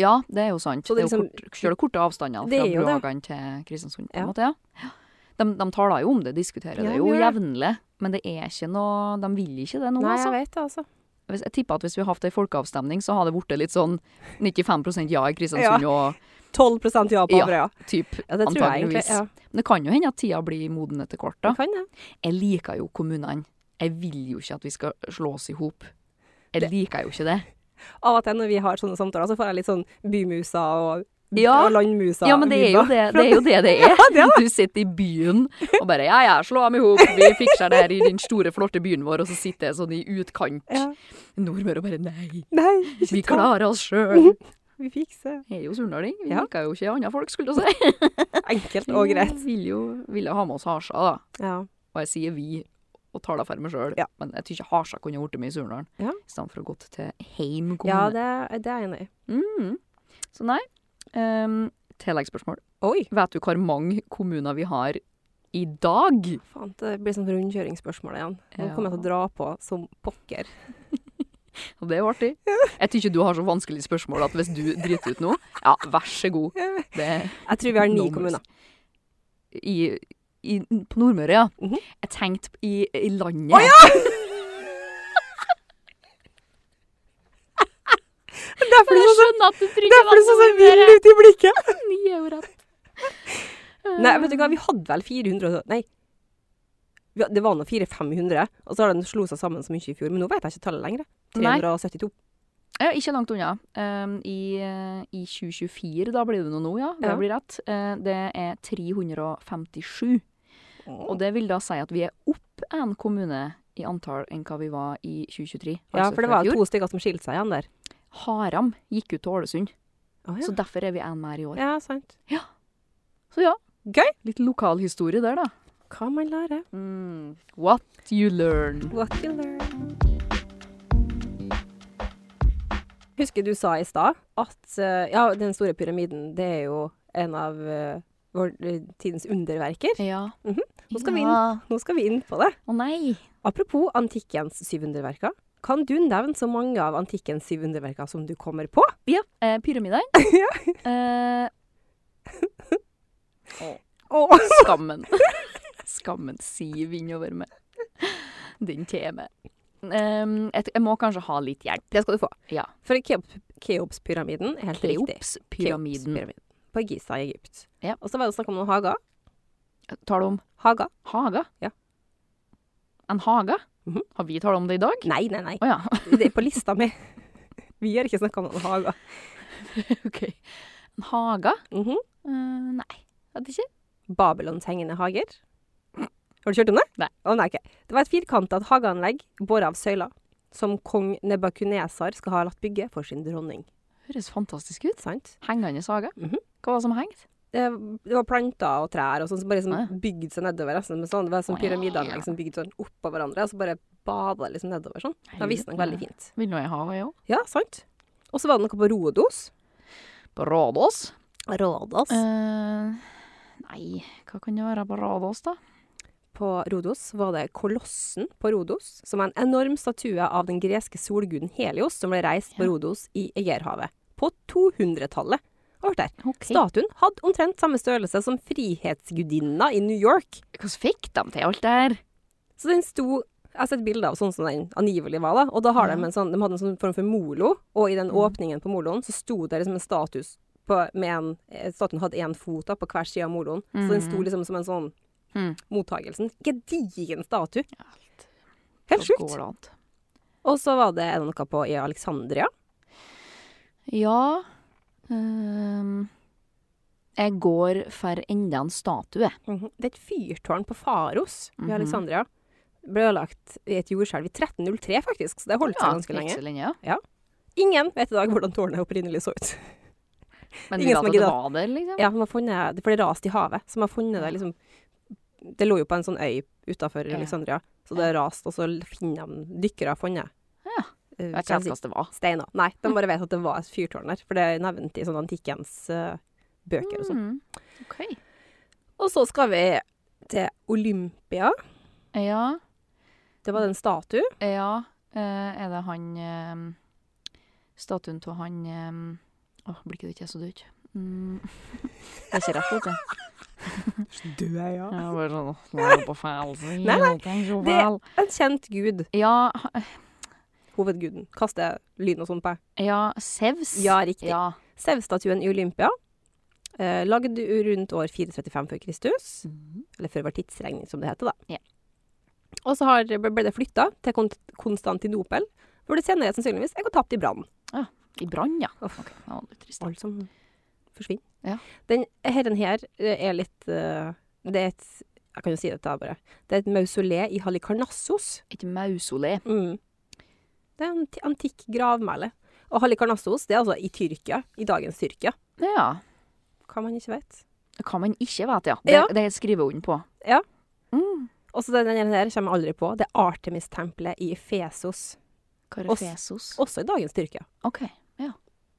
Speaker 3: Ja, det er jo sant.
Speaker 2: Så
Speaker 3: det,
Speaker 2: det liksom
Speaker 3: er jo kort, selv korte avstander
Speaker 2: Det
Speaker 3: fra
Speaker 2: er jo det.
Speaker 3: Bruhagan til Kristiansund, på en
Speaker 2: Ja.
Speaker 3: måte. ja. De, de taler jo om det, diskuterer
Speaker 2: Ja,
Speaker 3: det
Speaker 2: de
Speaker 3: jo
Speaker 2: gjør det.
Speaker 3: jevnlig. Men det er ikke noe De vil ikke det nå,
Speaker 2: Nei, jeg
Speaker 3: altså.
Speaker 2: vet det, altså.
Speaker 3: Hvis, jeg tipper at hvis vi hadde hatt ei folkeavstemning, så hadde det blitt litt sånn 95 ja i Kristiansund og
Speaker 2: 12 ja på
Speaker 3: Ja.
Speaker 2: Averøya.
Speaker 3: typ.
Speaker 2: Ja, det tror jeg egentlig.
Speaker 3: Antageligvis.
Speaker 2: Ja,
Speaker 3: Men det kan jo hende at tida blir moden etter hvert, da.
Speaker 2: det kan det.
Speaker 3: Jeg liker jo kommunene. Jeg vil jo ikke at vi skal slå oss i hop. Jeg
Speaker 2: Det-
Speaker 3: liker jo ikke det.
Speaker 2: Av og til når vi har sånne samtaler, så får jeg litt sånn bymusa og,
Speaker 3: Ja.
Speaker 2: og landmusa.
Speaker 3: Ja, men det er jo
Speaker 2: vibber.
Speaker 3: det det er. Jo det det er.
Speaker 2: det er
Speaker 3: Du sitter i byen og bare ja, ja, slå dem i hop, vi fikser det her i den store, flotte byen vår, og så sitter jeg sånn i utkant
Speaker 2: <laughs> Ja.
Speaker 3: Nordmøre og bare nei,
Speaker 2: Nei, ikke
Speaker 3: vi
Speaker 2: ta-
Speaker 3: klarer oss sjøl.
Speaker 2: <laughs> Vi fikser.
Speaker 3: Jeg er jo surnading, vi
Speaker 2: Ja.
Speaker 3: liker jo ikke andre folk, skulle jeg si.
Speaker 2: Enkelt og greit.
Speaker 3: Vi Vil jo ville ha med oss Harsa, da.
Speaker 2: Ja.
Speaker 3: Og jeg sier vi og taler for meg sjøl,
Speaker 2: Ja.
Speaker 3: men jeg tykker Harsa kunne blitt med i Surnadal
Speaker 2: Ja.
Speaker 3: i stedet for å gå til Heim
Speaker 2: Ja,
Speaker 3: kommune.
Speaker 2: det, det er jeg enig i.
Speaker 3: mm. Så nei. Um, Tilleggsspørsmål.
Speaker 2: Oi!
Speaker 3: Vet du hvor mange kommuner vi har i dag?
Speaker 2: Faen, det blir sånn rundkjøringsspørsmål igjen. Nå
Speaker 3: Ja.
Speaker 2: kommer jeg til å dra på som pokker.
Speaker 3: Og det er jo artig. Jeg tykker du har så vanskelig spørsmål at hvis du driter ut nå, ja, vær så god. Det,
Speaker 2: Jeg tror vi har ni
Speaker 3: Numbers.
Speaker 2: kommuner.
Speaker 3: i, i, på Nordmøre, ja.
Speaker 2: Mhm.
Speaker 3: Jeg tenkte i, i
Speaker 2: Å
Speaker 3: landet.
Speaker 2: ja!
Speaker 3: For jeg skjønner at du trykker
Speaker 2: ut i blikket.
Speaker 3: Ni er jo rett.
Speaker 2: <laughs> Nei, vet du hva, vi hadde vel 400 og- Nei. Vi had- Det var nå 400-500, og så har den slo seg sammen så mye i fjor. Men nå vet jeg ikke tallet lenger.
Speaker 3: Nei.
Speaker 2: 372.
Speaker 3: Ja, ikke langt unna. Um, i, eh, I 2024, da blir det noe nå, ja. Det
Speaker 2: Ja.
Speaker 3: blir rett. Eh, det er 357. Og det vil da si at vi er opp en kommune i antall enn hva vi var i 2023.
Speaker 2: Ja,
Speaker 3: altså
Speaker 2: for det
Speaker 3: fra
Speaker 2: var
Speaker 3: i fjor.
Speaker 2: to stykker som skilte seg igjen der.
Speaker 3: Haram gikk ut til Ålesund,
Speaker 2: Å,
Speaker 3: så derfor er vi en mer i år.
Speaker 2: ja. ja, sant.
Speaker 3: Så ja.
Speaker 2: Gøy.
Speaker 3: Litt lokalhistorie der, da. Mm.
Speaker 2: Hva man lærer.
Speaker 3: What you learn.
Speaker 2: What you learn. Husker du sa i stad at eh, ja, den store pyramiden, det er jo en av eh, vår eh, tidens underverker.
Speaker 3: Ja.
Speaker 2: Mhm. Nå skal vi inn.
Speaker 3: Ja.
Speaker 2: Nå skal vi inn på det.
Speaker 3: Å nei.
Speaker 2: Apropos antikkens syv underverker. Kan du nevne så mange av antikkens syv underverker som du kommer på?
Speaker 3: Ja.
Speaker 2: <laughs>
Speaker 3: Eh, Pyramiden. eh,
Speaker 2: Åh. <laughs>
Speaker 3: skammen. skammen siv innover meg. Den teme. Um, jeg, jeg må kanskje ha litt hjelp.
Speaker 2: Det skal du få.
Speaker 3: Ja.
Speaker 2: For Keop- Keopspyramiden er helt riktig.
Speaker 3: Kleops-pyramiden.
Speaker 2: Keopspyramiden. På Giza i Egypt.
Speaker 3: Ja.
Speaker 2: Og så var det snakk om noen hager.
Speaker 3: Tar du om
Speaker 2: Hager?
Speaker 3: haga?
Speaker 2: Ja.
Speaker 3: En haga?
Speaker 2: Mhm.
Speaker 3: Har vi talt om det i dag?
Speaker 2: Nei, nei, nei.
Speaker 3: Å ja. <laughs>
Speaker 2: Det er på lista mi. <laughs> Vi har ikke snakka om noen hager.
Speaker 3: OK. En haga?
Speaker 2: Mhm.
Speaker 3: Eh, nei. Vet ikke.
Speaker 2: Babylons hengende hager. Har du kjørt om det?
Speaker 3: Nei.
Speaker 2: Å, nei, ok. Det var et firkantet hageanlegg båret av søyler, som kong Nebakunesar skal ha latt bygge for sin dronning.
Speaker 3: Høres fantastisk ut.
Speaker 2: Sant?
Speaker 3: Hengende haga.
Speaker 2: Mhm.
Speaker 3: Hva var det som hengt?
Speaker 2: Det, det var planter og trær og sånn, som bare liksom
Speaker 3: Å, ja.
Speaker 2: bygde seg nedover. Nesten, med sånn. Det var sånn
Speaker 3: Å, ja.
Speaker 2: pyramideanlegg som bygde sånn oppå hverandre, og så bare badet liksom nedover sånn. Det var visstnok veldig fint.
Speaker 3: Vil nå jeg ha det, jo.
Speaker 2: Ja, sant? Og så var det noe på Rodos.
Speaker 3: På Rådås?
Speaker 2: Rodos?
Speaker 3: Eh. nei, hva kan det være på Rådås, da?
Speaker 2: På Rodos var det Kolossen på Rodos, som er en enorm statue av den greske solguden Helios, som ble reist på
Speaker 3: Ja.
Speaker 2: Rodos i Egerhavet på 200-tallet. Og vært der.
Speaker 3: Okay.
Speaker 2: Statuen hadde omtrent samme størrelse som frihetsgudinna i New York.
Speaker 3: Hvordan fikk de til alt det her?
Speaker 2: Så den sto Jeg har sett bilder av sånn som den angivelig var, da. Og da har
Speaker 3: Ja.
Speaker 2: de,
Speaker 3: Mm.
Speaker 2: en sånn, de hadde en sånn form for molo, og i den åpningen på moloen så sto det liksom en status på, med en, eh, Statuen hadde én fot da, på hver side av moloen, så den sto
Speaker 3: Mhm.
Speaker 2: liksom som en sånn
Speaker 3: Mhm.
Speaker 2: mottagelsen. Gedigen statue.
Speaker 3: Alt.
Speaker 2: Helt
Speaker 3: Hva
Speaker 2: sjukt.
Speaker 3: går det an?
Speaker 2: Og så var det er det noe på i Alexandria.
Speaker 3: Ja ehm, Jeg går for enda en statue.
Speaker 2: Det er et fyrtårn på Faros
Speaker 3: Mm. Mhm.
Speaker 2: i Alexandria. Ble ødelagt i et jordskjelv i 1303, faktisk, så det holdt seg
Speaker 3: Ja,
Speaker 2: ganske lenge.
Speaker 3: ikke så lenge, ja.
Speaker 2: Ingen vet i dag hvordan tårnet opprinnelig så ut.
Speaker 3: Men vi
Speaker 2: Ingen
Speaker 3: vet
Speaker 2: som
Speaker 3: at
Speaker 2: har
Speaker 3: det
Speaker 2: giddet.
Speaker 3: var der, liksom.
Speaker 2: Ja, man har funnet, det ble rast i havet, så man har funnet det liksom Det lå jo på en sånn øy utafor
Speaker 3: Ja.
Speaker 2: Alexandria, så det raste, og så finner de dykkere har funnet
Speaker 3: Ja.
Speaker 2: eh,
Speaker 3: Jeg vet
Speaker 2: hva
Speaker 3: ikke
Speaker 2: skal jeg
Speaker 3: Mm.
Speaker 2: si,
Speaker 3: hva det var.
Speaker 2: steiner. Nei, de bare vet at det var et fyrtårn der, for det er nevnt i sånne antikkens eh, bøker og sånn.
Speaker 3: Mm. Ok.
Speaker 2: Og så skal vi til Olympia.
Speaker 3: Ja,
Speaker 2: Det var den statue.
Speaker 3: ja. Eh, er det han eh, Statuen av han eh, Åh, blikket ditt er så dødt.
Speaker 2: <laughs>
Speaker 3: Mm. Det er ikke rett, <laughs> vet du.
Speaker 2: Du er
Speaker 3: Jeg bare sånn, åh, nå er det på feil side,
Speaker 2: Nei, nei,
Speaker 3: tenk så
Speaker 2: det-
Speaker 3: feil.
Speaker 2: En kjent gud.
Speaker 3: Ja,
Speaker 2: Hovedguden. Kaster lyn og sånn på.
Speaker 3: ja, Sevs.
Speaker 2: Ja, riktig.
Speaker 3: Ja.
Speaker 2: Sevstatuen i Olympia. Eh, lagd rundt år 435 før Kristus. Eller før vår tidsregning, som det heter, da.
Speaker 3: Ja.
Speaker 2: Og så har, ble det flytta til Kon- Konstantinopel, hvor det senere sannsynligvis er gått tapt i brann.
Speaker 3: I brann, ja.
Speaker 2: Uff.
Speaker 3: Ok, det var litt trist.
Speaker 2: Alt som forsvinner.
Speaker 3: Ja.
Speaker 2: Den herren her eh, er litt eh, Det er et Jeg kan jo si dette, her bare. Det er et mausolé i Halikarnassos.
Speaker 3: Et mausolé.
Speaker 2: Mm. Det er en ti- antikk gravmæle. Og Halikarnassos, det er altså i Tyrkia. I dagens Tyrkia.
Speaker 3: Ja,
Speaker 2: Hva man ikke vet.
Speaker 3: hva man ikke vet, ja. Det,
Speaker 2: Ja.
Speaker 3: det skriver hun på.
Speaker 2: Ja.
Speaker 3: Mm.
Speaker 2: Og så den ene her kommer jeg aldri på. Det er Artemis-tempelet i Fesos.
Speaker 3: Karfesos.
Speaker 2: Også i dagens Tyrkia.
Speaker 3: Ok,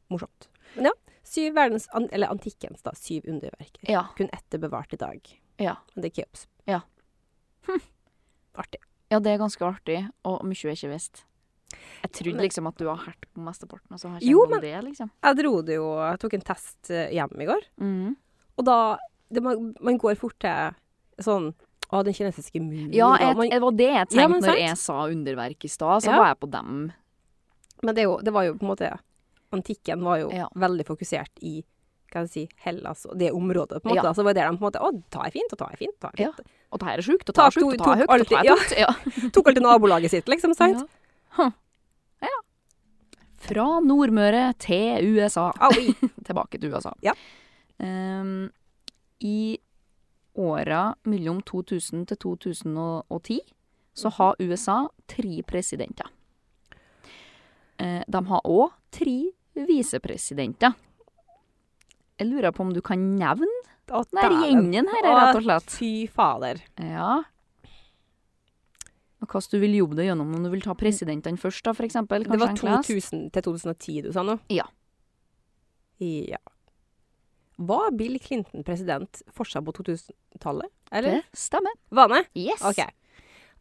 Speaker 2: morsomt. Men ja, syv verdens, an- eller antikkens da, syv underverker.
Speaker 3: ja.
Speaker 2: Kun ett er bevart i dag.
Speaker 3: Ja.
Speaker 2: Men det er Keops.
Speaker 3: Ja. Hm.
Speaker 2: Artig.
Speaker 3: Ja, det er ganske artig, og mye jeg ikke visste. Jeg trodde
Speaker 2: Men-
Speaker 3: liksom at du har hert på mesteparten, og så har jeg
Speaker 2: Jo,
Speaker 3: ikke
Speaker 2: men-
Speaker 3: men... det, liksom.
Speaker 2: Jeg dro det jo, jeg tok en test eh, hjem i går,
Speaker 3: Mm.
Speaker 2: og da, det, man, man går fort til sånn, å, den kinesiske muren.
Speaker 3: Ja,
Speaker 2: og
Speaker 3: jeg,
Speaker 2: man,
Speaker 3: det var det jeg tenkte
Speaker 2: Ja, men
Speaker 3: når
Speaker 2: sant.
Speaker 3: jeg sa underverk i stad, så
Speaker 2: Ja.
Speaker 3: var jeg på dem.
Speaker 2: men det, er jo, det var jo på en måte, antikken var jo
Speaker 3: Ja.
Speaker 2: veldig fokusert i, kan jeg si, Hellas, og det området på en måte,
Speaker 3: Ja.
Speaker 2: da. så var det der de på en måte, å, ta er fint, og ta er fint, ta er fint.
Speaker 3: Og det her er sjukt, og det
Speaker 2: Ta
Speaker 3: her er
Speaker 2: to-
Speaker 3: sjukt, og det her er
Speaker 2: tok
Speaker 3: høyt, og det her er tungt. <laughs> Ja.
Speaker 2: Tok alt i nabolaget sitt, liksom, sant?
Speaker 3: Ja. Hm. ja. Fra Nordmøre til USA.
Speaker 2: Au,
Speaker 3: Tilbake til USA.
Speaker 2: Ja.
Speaker 3: Ehm, I åra mellom 2000 til 2010
Speaker 2: Mhm.
Speaker 3: så har USA tre presidenter. Eh, de har òg tre visepresidenter. Jeg lurer på om du kan nevne
Speaker 2: å,
Speaker 3: den
Speaker 2: dæven.
Speaker 3: gjengen her, rett og slett.
Speaker 2: Fy fader.
Speaker 3: Ja. Og hva du vil jobbe deg gjennom, om du vil ta presidentene først, da, for eksempel?
Speaker 2: Mm. Det var
Speaker 3: kanskje enklest?
Speaker 2: 2000 til 2010 du sa nå?
Speaker 3: Ja.
Speaker 2: Ja. Var Bill Clinton president fortsatt på 2000-tallet? Eller?
Speaker 3: Det stemmer.
Speaker 2: Var han det?
Speaker 3: Yes.
Speaker 2: OK. Etter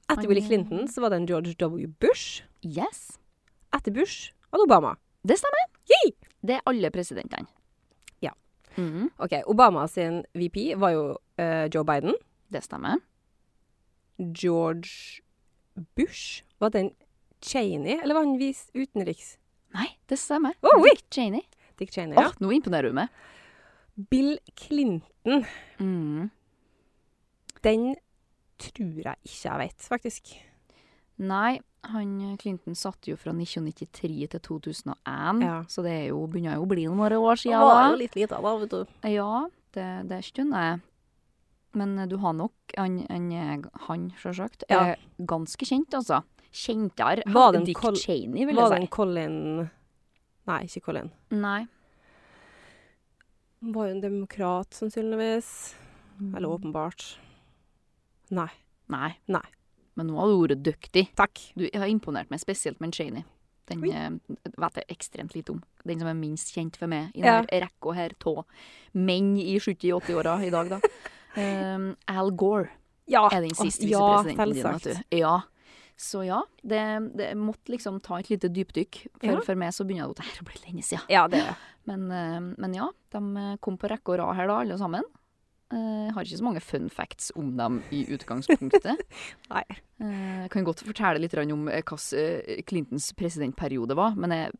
Speaker 3: Han-
Speaker 2: Bill Clinton så var det en George W. Bush.
Speaker 3: yes.
Speaker 2: Etter Bush var det Obama.
Speaker 3: Det stemmer.
Speaker 2: Yay!
Speaker 3: Det er alle presidentene.
Speaker 2: Ja.
Speaker 3: Mhm,
Speaker 2: OK. Obama sin VP var jo eh, Joe Biden.
Speaker 3: det stemmer.
Speaker 2: George Bush Var den Cheney, eller var han vis utenriks?
Speaker 3: Nei, det stemmer.
Speaker 2: Oh, oui.
Speaker 3: Dick Cheney.
Speaker 2: Dick Cheney,
Speaker 3: Åh,
Speaker 2: ja.
Speaker 3: nå imponerer hun meg.
Speaker 2: Bill Clinton,
Speaker 3: Mhm.
Speaker 2: den tror jeg ikke jeg vet, faktisk.
Speaker 3: Nei, han eh, Clinton satt jo fra 1993 til 2001,
Speaker 2: Ja.
Speaker 3: så det er jo, begynner jo å bli noen år siden.
Speaker 2: Han
Speaker 3: da.
Speaker 2: var jo litt lita da, vet du.
Speaker 3: Ja, det, det skjønner jeg. Men eh, du har nok Han, han, er- han selvsagt,
Speaker 2: Ja.
Speaker 3: er ganske kjent, altså. Kjentere enn
Speaker 2: Var det en
Speaker 3: Dick
Speaker 2: kol-
Speaker 3: Cheney, vil
Speaker 2: Var
Speaker 3: jeg
Speaker 2: det en
Speaker 3: si.
Speaker 2: Colin Nei, ikke Colin.
Speaker 3: Nei.
Speaker 2: Han var jo en demokrat, sannsynligvis. Eller åpenbart. Nei.
Speaker 3: Nei.
Speaker 2: Nei.
Speaker 3: Men nå har du vært dyktig.
Speaker 2: Takk.
Speaker 3: Du har imponert meg spesielt med en Cheney. Den
Speaker 2: Oi.
Speaker 3: eh, vet jeg ekstremt lite om. Den som er minst kjent for meg i
Speaker 2: Ja.
Speaker 3: denne rekka her av menn i 70-80-åra i dag,
Speaker 2: <laughs>
Speaker 3: da. Um, Al Gore.
Speaker 2: Ja.
Speaker 3: er den
Speaker 2: Ah,
Speaker 3: siste
Speaker 2: ja,
Speaker 3: visepresidenten din.
Speaker 2: selvsagt.
Speaker 3: Vet du. Ja. Så ja, det, det måtte liksom ta et lite dypdykk. For,
Speaker 2: Ja.
Speaker 3: for meg så begynner det å Det blir lenge siden.
Speaker 2: Ja, det er det.
Speaker 3: Men, eh, men ja, de eh, kom på rekke og rad her da, alle sammen. Eh, Jeg har ikke så mange fun facts om dem i <laughs> utgangspunktet.
Speaker 2: Nei.
Speaker 3: Eh, Jeg kan godt fortelle litt grann om eh, hva s- eh, Clintons presidentperiode var, men jeg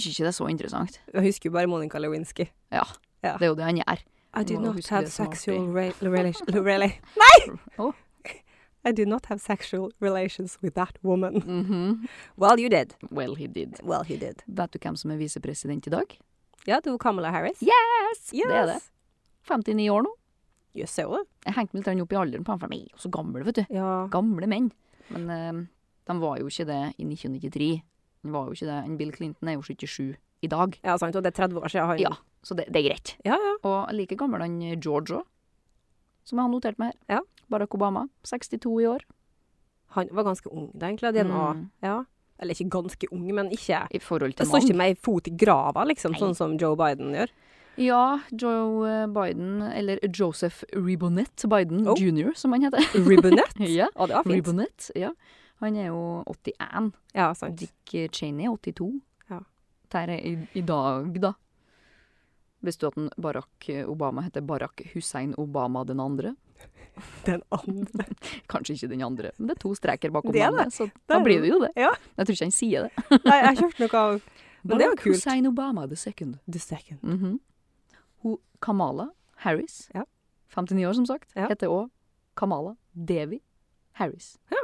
Speaker 3: syns ikke det er så interessant.
Speaker 2: Jeg husker jo bare Monica Lewinsky.
Speaker 3: Ja,
Speaker 2: Ja.
Speaker 3: det er jo det han gjør.
Speaker 2: I do
Speaker 3: Må
Speaker 2: not
Speaker 3: huske
Speaker 2: have
Speaker 3: det som artig.
Speaker 2: sexual re <laughs> relation... Really. Nei!
Speaker 3: Å.
Speaker 2: I do not have sexual relations with that woman.
Speaker 3: Mhm.
Speaker 2: Well, you did.
Speaker 3: Well, he did.
Speaker 2: Well, he did.
Speaker 3: Vet du hvem som er visepresident i dag?
Speaker 2: Ja, det var Kamala Harris.
Speaker 3: Yes!
Speaker 2: Yes.
Speaker 3: Det er det. 59 år nå.
Speaker 2: Jøss, er hun det?
Speaker 3: Jeg hengte meg litt grann opp i alderen på dem, for de er jo så gamle, vet du.
Speaker 2: Ja.
Speaker 3: Gamle menn. Men eh, de var jo ikke det i 1993. De var jo ikke det. En Bill Clinton er jo 77 i dag.
Speaker 2: ja, sant. Og det er 30 år siden han
Speaker 3: Ja, så det, det er greit.
Speaker 2: ja. ja.
Speaker 3: Og like gammel han eh, George òg, som jeg har notert meg her.
Speaker 2: Ja.
Speaker 3: Barack Obama, 62 i år.
Speaker 2: Han var ganske ung da, egentlig. DNA.
Speaker 3: Mm.
Speaker 2: Ja. Eller ikke ganske ung, men ikke
Speaker 3: I
Speaker 2: Det
Speaker 3: forhold til
Speaker 2: står
Speaker 3: mann.
Speaker 2: ikke med ei fot i grava, liksom,
Speaker 3: Nei.
Speaker 2: sånn som Joe Biden gjør.
Speaker 3: Ja, Joe eh, Biden, eller Joseph Ribonette Biden
Speaker 2: Oh.
Speaker 3: jr., som han heter.
Speaker 2: Ribbonette.
Speaker 3: <laughs> ja,
Speaker 2: Å, det var fint.
Speaker 3: Ribonette, ja. Han er jo 81.
Speaker 2: Ja, sant.
Speaker 3: Dick Cheney er 82.
Speaker 2: Ja.
Speaker 3: Der er i, i dag, da. Visste du at den Barack Obama heter Barack Hussein Obama den andre?
Speaker 2: Den andre.
Speaker 3: Kanskje ikke den andre, men det er to streker bakom
Speaker 2: Det er
Speaker 3: navnet,
Speaker 2: er
Speaker 3: så da
Speaker 2: det.
Speaker 3: blir det jo det.
Speaker 2: Ja.
Speaker 3: Jeg tror ikke han sier det.
Speaker 2: Nei, jeg kjøpte noe av Men det er jo
Speaker 3: Barack
Speaker 2: kult.
Speaker 3: Hussein Obama the second.
Speaker 2: The Second.
Speaker 3: Mhm. Hun, Kamala Harris,
Speaker 2: Ja.
Speaker 3: 59 år som sagt,
Speaker 2: Ja.
Speaker 3: heter òg Kamala Devi Harris.
Speaker 2: Ja.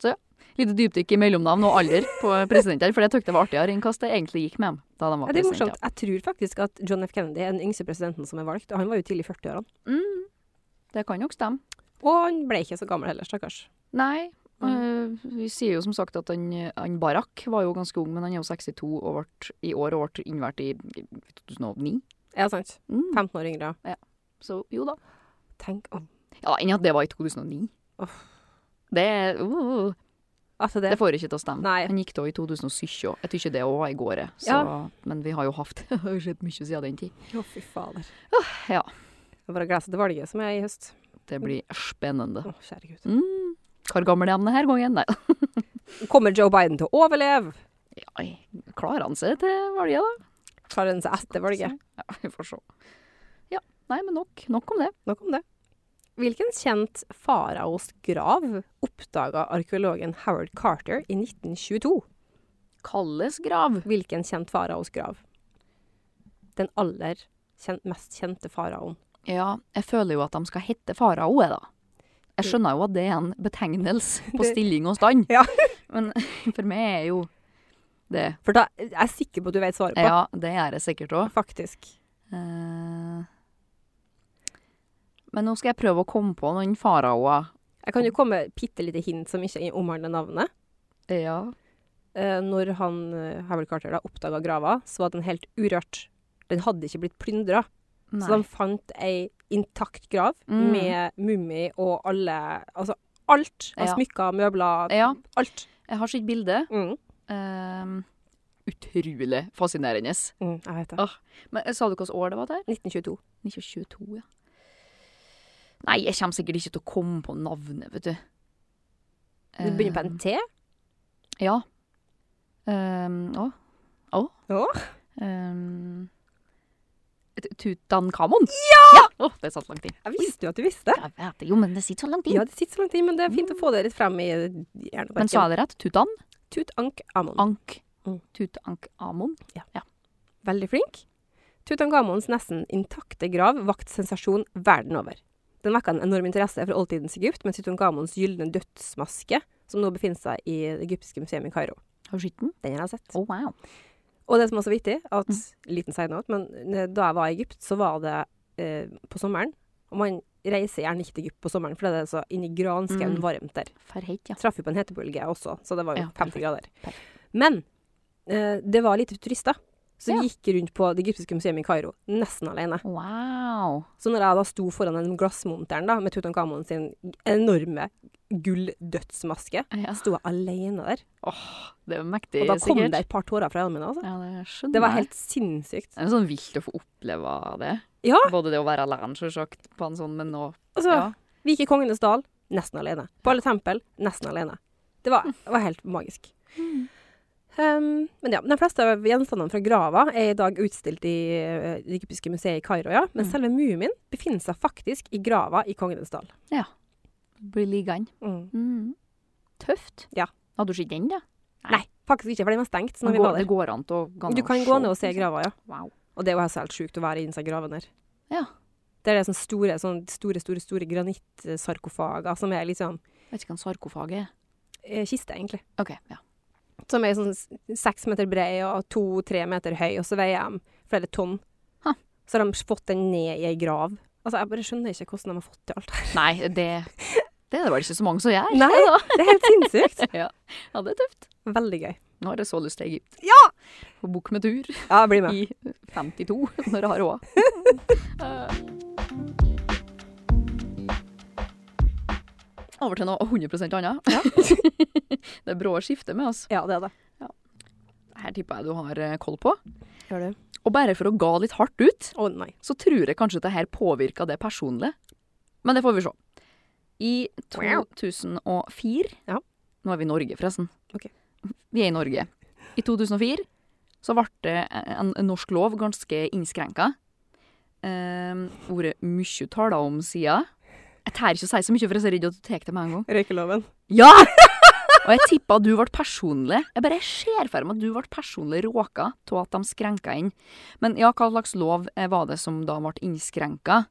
Speaker 3: Så ja, lite dypdykk i mellomnavn og alder på presidenter, for det tykte jeg var artigere enn hva det egentlig gikk med dem da de var
Speaker 2: Ja, det er
Speaker 3: presidenter.
Speaker 2: morsomt. Jeg tror faktisk at John F. Kennedy er den yngste presidenten som er valgt, og han var jo tidlig i 40-årene.
Speaker 3: Mm, det kan nok stemme.
Speaker 2: Og han ble ikke så gammel heller, stakkars.
Speaker 3: Nei, øh, vi sier jo som sagt at han, han Barack var jo ganske ung, men han er jo 62 og ble i år og ble innvalgt i 2009.
Speaker 2: Ja, sant.
Speaker 3: Mm.
Speaker 2: 15 år yngre.
Speaker 3: Så jo da.
Speaker 2: Tenk om
Speaker 3: Ja, enn at det var i 2009. Det er uh,
Speaker 2: Altså, det
Speaker 3: Det får ikke til å stemme.
Speaker 2: Nei.
Speaker 3: Han gikk da i 2017. Jeg tror ikke det var i går, jeg. så, men <laughs> vi har jo hatt det har skjedd mye siden den tid.
Speaker 2: Å, fy fader.
Speaker 3: ja.
Speaker 2: Det er bare å glede seg til valget som er i høst.
Speaker 3: Det blir spennende.
Speaker 2: Å, kjære gud.
Speaker 3: Mm. Hvor gammel er han denne gangen? Nei,
Speaker 2: Kommer Joe Biden til å overleve?
Speaker 3: Oi, klarer han seg til valget, da?
Speaker 2: Klarer han seg etter valget?
Speaker 3: Ja, <laughs> vi får se. Ja. Nei, men nok, nok om det.
Speaker 2: Nok om det. Hvilken kjent faraos grav oppdaga arkeologen Howard Carter i 1922?
Speaker 3: Kalles grav.
Speaker 2: Hvilken kjent faraos grav? Den aller kjen- mest kjente faraoen.
Speaker 3: Ja, jeg føler jo at de skal hette faraoet, da. Jeg skjønner jo at det er en <laughs> betegnelse på
Speaker 2: Det-
Speaker 3: stilling og stand,
Speaker 2: Ja.
Speaker 3: <laughs> men for meg er jo det
Speaker 2: For da jeg er jeg sikker på at du vet svaret på.
Speaker 3: Ja, det er jeg sikkert òg.
Speaker 2: Faktisk.
Speaker 3: Eh, Men nå skal jeg prøve å komme på noen faraoer.
Speaker 2: Jeg kan jo komme med bitte lite hint som ikke omhandler navnet.
Speaker 3: Ja.
Speaker 2: Eh, når han, eh, Howard Carter da oppdaga grava, så var den helt urørt. Den hadde ikke blitt plyndra. Så de fant ei intakt grav
Speaker 3: Mm.
Speaker 2: med mummi og alle Altså alt av
Speaker 3: Ja.
Speaker 2: smykker, møbler,
Speaker 3: Ja,
Speaker 2: alt.
Speaker 3: jeg har sitt bilde.
Speaker 2: Mm.
Speaker 3: Eh, utrolig fascinerende.
Speaker 2: Mm, jeg vet det.
Speaker 3: Åh. Men eh, Sa du hvilket år det var der?
Speaker 2: 1922.
Speaker 3: 1922, ja. Nei, jeg kommer sikkert ikke til å komme på navnet, vet du.
Speaker 2: Det begynner på en T.
Speaker 3: Eh, Ja. Um, å. Å.
Speaker 2: Å?
Speaker 3: Um, T- Tutankhamon? Ja! Å, det satt langt inn.
Speaker 2: Jeg visste jo at du visste.
Speaker 3: Jeg vet det, jo, men det sitter så langt inn.
Speaker 2: Ja, det sitter så lang tid, men det er fint å få det litt frem i hjernebarken.
Speaker 3: Men sa jeg det rett? Tutan?
Speaker 2: Tutankhamon.
Speaker 3: Ank.
Speaker 2: Mm.
Speaker 3: Tutankamon?
Speaker 2: Veldig flink. Tutankhamons nesten intakte grav vakt sensasjon verden over. Den vekka en enorm interesse fra oldtidens Egypt med Tutankhamons gylne dødsmaske, som nå befinner seg i det egyptiske museet i Kairo.
Speaker 3: Har du sett den?
Speaker 2: Den har jeg sett.
Speaker 3: Å, wow.
Speaker 2: Og det som også er viktig, at
Speaker 3: Mm.
Speaker 2: liten side note, men eh, da jeg var i Egypt, så var det eh, på sommeren. Og man reiser gjerne ikke til Egypt på sommeren, for det er så inni granskauen
Speaker 3: Mm.
Speaker 2: varmt der.
Speaker 3: Ferheit, ja.
Speaker 2: Traff jo på en hetebølge også, så det var jo
Speaker 3: Ja,
Speaker 2: 50
Speaker 3: perfekt.
Speaker 2: grader.
Speaker 3: Perfekt.
Speaker 2: Men eh, det var lite turister, så
Speaker 3: Ja.
Speaker 2: vi gikk rundt på det egyptiske museet i Kairo nesten alene.
Speaker 3: Wow.
Speaker 2: Så når jeg da sto foran den glassmonteren da, med Tutankhamon sin enorme gulldødsmaske,
Speaker 3: Ja.
Speaker 2: sto jeg alene der.
Speaker 3: Det er mektig,
Speaker 2: Og da kom
Speaker 3: sikkert.
Speaker 2: det et par tårer fra øynene mine, altså.
Speaker 3: Ja, det skjønner
Speaker 2: Det var
Speaker 3: jeg.
Speaker 2: helt sinnssykt.
Speaker 3: Det er sånn vilt å få oppleve det.
Speaker 2: Ja.
Speaker 3: Både det å være alene, selvsagt, på en sånn, men nå
Speaker 2: Altså,
Speaker 3: ja.
Speaker 2: Vi gikk i Kongenes dal, nesten alene. På alle tempel, nesten alene. Det var, det var helt magisk. Um, men ja, De fleste av gjenstandene fra grava er i dag utstilt i eh, det egyptiske museet i Kairo. ja. Men
Speaker 3: Mm.
Speaker 2: selve mumien befinner seg faktisk i grava i Kongenes dal.
Speaker 3: blir liggende.
Speaker 2: Mm.
Speaker 3: Mm. Tøft.
Speaker 2: Ja.
Speaker 3: Hadde du sett den, da?
Speaker 2: Nei, faktisk ikke, for den var stengt. Så
Speaker 3: Det
Speaker 2: når vi
Speaker 3: går,
Speaker 2: var
Speaker 3: det
Speaker 2: der.
Speaker 3: går an til å gå
Speaker 2: Du kan gå ned og se grava, ja.
Speaker 3: Wow.
Speaker 2: Og det er jo helt helt sjukt å være inni seg graven der.
Speaker 3: Ja.
Speaker 2: Det er det sånne store, sånne store, store, store granittsarkofager som er liksom
Speaker 3: Vet ikke hva en sarkofag er.
Speaker 2: eh, kiste, egentlig.
Speaker 3: OK, ja.
Speaker 2: Som er sånn s- seks meter brei og to-tre meter høy, og så veier de flere tonn.
Speaker 3: Ha.
Speaker 2: Så har de fått den ned i ei grav. Altså, Jeg bare skjønner ikke hvordan de har fått til alt <laughs> her.
Speaker 3: Nei, det Det er det vel ikke så mange som gjør.
Speaker 2: Nei.
Speaker 3: da.
Speaker 2: Det er helt sinnssykt.
Speaker 3: <laughs> ja. ja, det er tøft.
Speaker 2: Veldig gøy.
Speaker 3: Nå har jeg så lyst til Egypt. Ja! På bok med tur
Speaker 2: Ja, bli med.
Speaker 3: i 52, <laughs> når jeg har råd. Eh. Over til noe 100 annet. <laughs> det er brå skifte med oss.
Speaker 2: Ja, det er det.
Speaker 3: altså. her tipper jeg du har eh, koll på.
Speaker 2: Gjør du?
Speaker 3: Og bare for å ga litt hardt ut,
Speaker 2: Å nei.
Speaker 3: så tror jeg kanskje at det her påvirka det personlige. Men det får vi se. I 2004
Speaker 2: Ja.
Speaker 3: Nå er vi i Norge, forresten.
Speaker 2: Ok.
Speaker 3: Vi er i Norge. I 2004 så ble det en, en norsk lov ganske innskrenka. Eh, ordet mye tala om sida. Jeg tør ikke å si så mye, for jeg er så redd at du tar det med en gang.
Speaker 2: Røykeloven.
Speaker 3: Ja! Og jeg tippa du ble personlig Jeg bare ser for meg at du ble personlig råka av at de skrenka inn. Men ja, hva slags lov eh, var det som da ble innskrenka?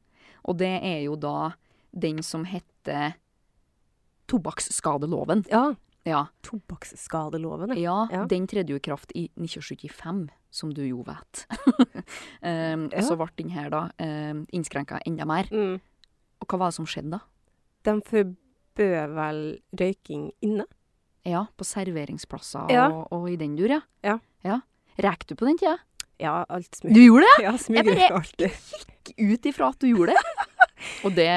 Speaker 3: Og det er jo da den som heter tobakksskadeloven.
Speaker 2: Ja.
Speaker 3: Ja.
Speaker 2: Tobakksskadeloven, ja.
Speaker 3: ja, den tredde jo i kraft i 1975, som du jo vet. <laughs> um, og så ble den her da um, innskrenka enda mer.
Speaker 2: Mm.
Speaker 3: Og hva var det som skjedde da?
Speaker 2: De forbød vel røyking inne?
Speaker 3: Ja, på serveringsplasser
Speaker 2: Ja.
Speaker 3: og, og i den dur, ja.
Speaker 2: Ja.
Speaker 3: Rek du på den tida?
Speaker 2: Ja, alt
Speaker 3: Du
Speaker 2: smug.
Speaker 3: gjorde
Speaker 2: <laughs> Ja,
Speaker 3: Jeg
Speaker 2: smuger
Speaker 3: bare-
Speaker 2: ikke alltid.
Speaker 3: det? Ut ifra at du gjorde det. <laughs> og det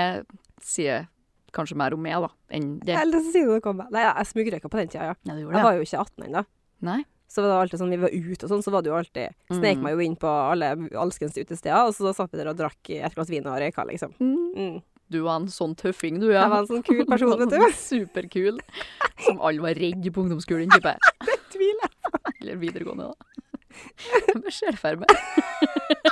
Speaker 3: sier kanskje mer om meg, da, enn det.
Speaker 2: Eller så sier du noe om meg. Nei, ja, jeg smugrøyka på den tida, ja.
Speaker 3: Ja, du gjorde
Speaker 2: Jeg
Speaker 3: det.
Speaker 2: var jo ikke 18 ennå.
Speaker 3: Nei.
Speaker 2: Så var det alltid sånn, vi var ute og sånn, så var det jo alltid Snek
Speaker 3: Mm.
Speaker 2: meg jo inn på alle alskens utesteder, og så satt vi der og drakk et glass vin og røyka, liksom.
Speaker 3: Mm.
Speaker 2: Mm.
Speaker 3: Du var en sånn tøffing, du, ja.
Speaker 2: Jeg var en sånn kul person,
Speaker 3: <laughs>
Speaker 2: vet du.
Speaker 3: Superkul. Som alle var redd på ungdomsskolen, tipper jeg.
Speaker 2: Tviler.
Speaker 3: Eller videregående, da. <laughs> Jeg bare ser for meg.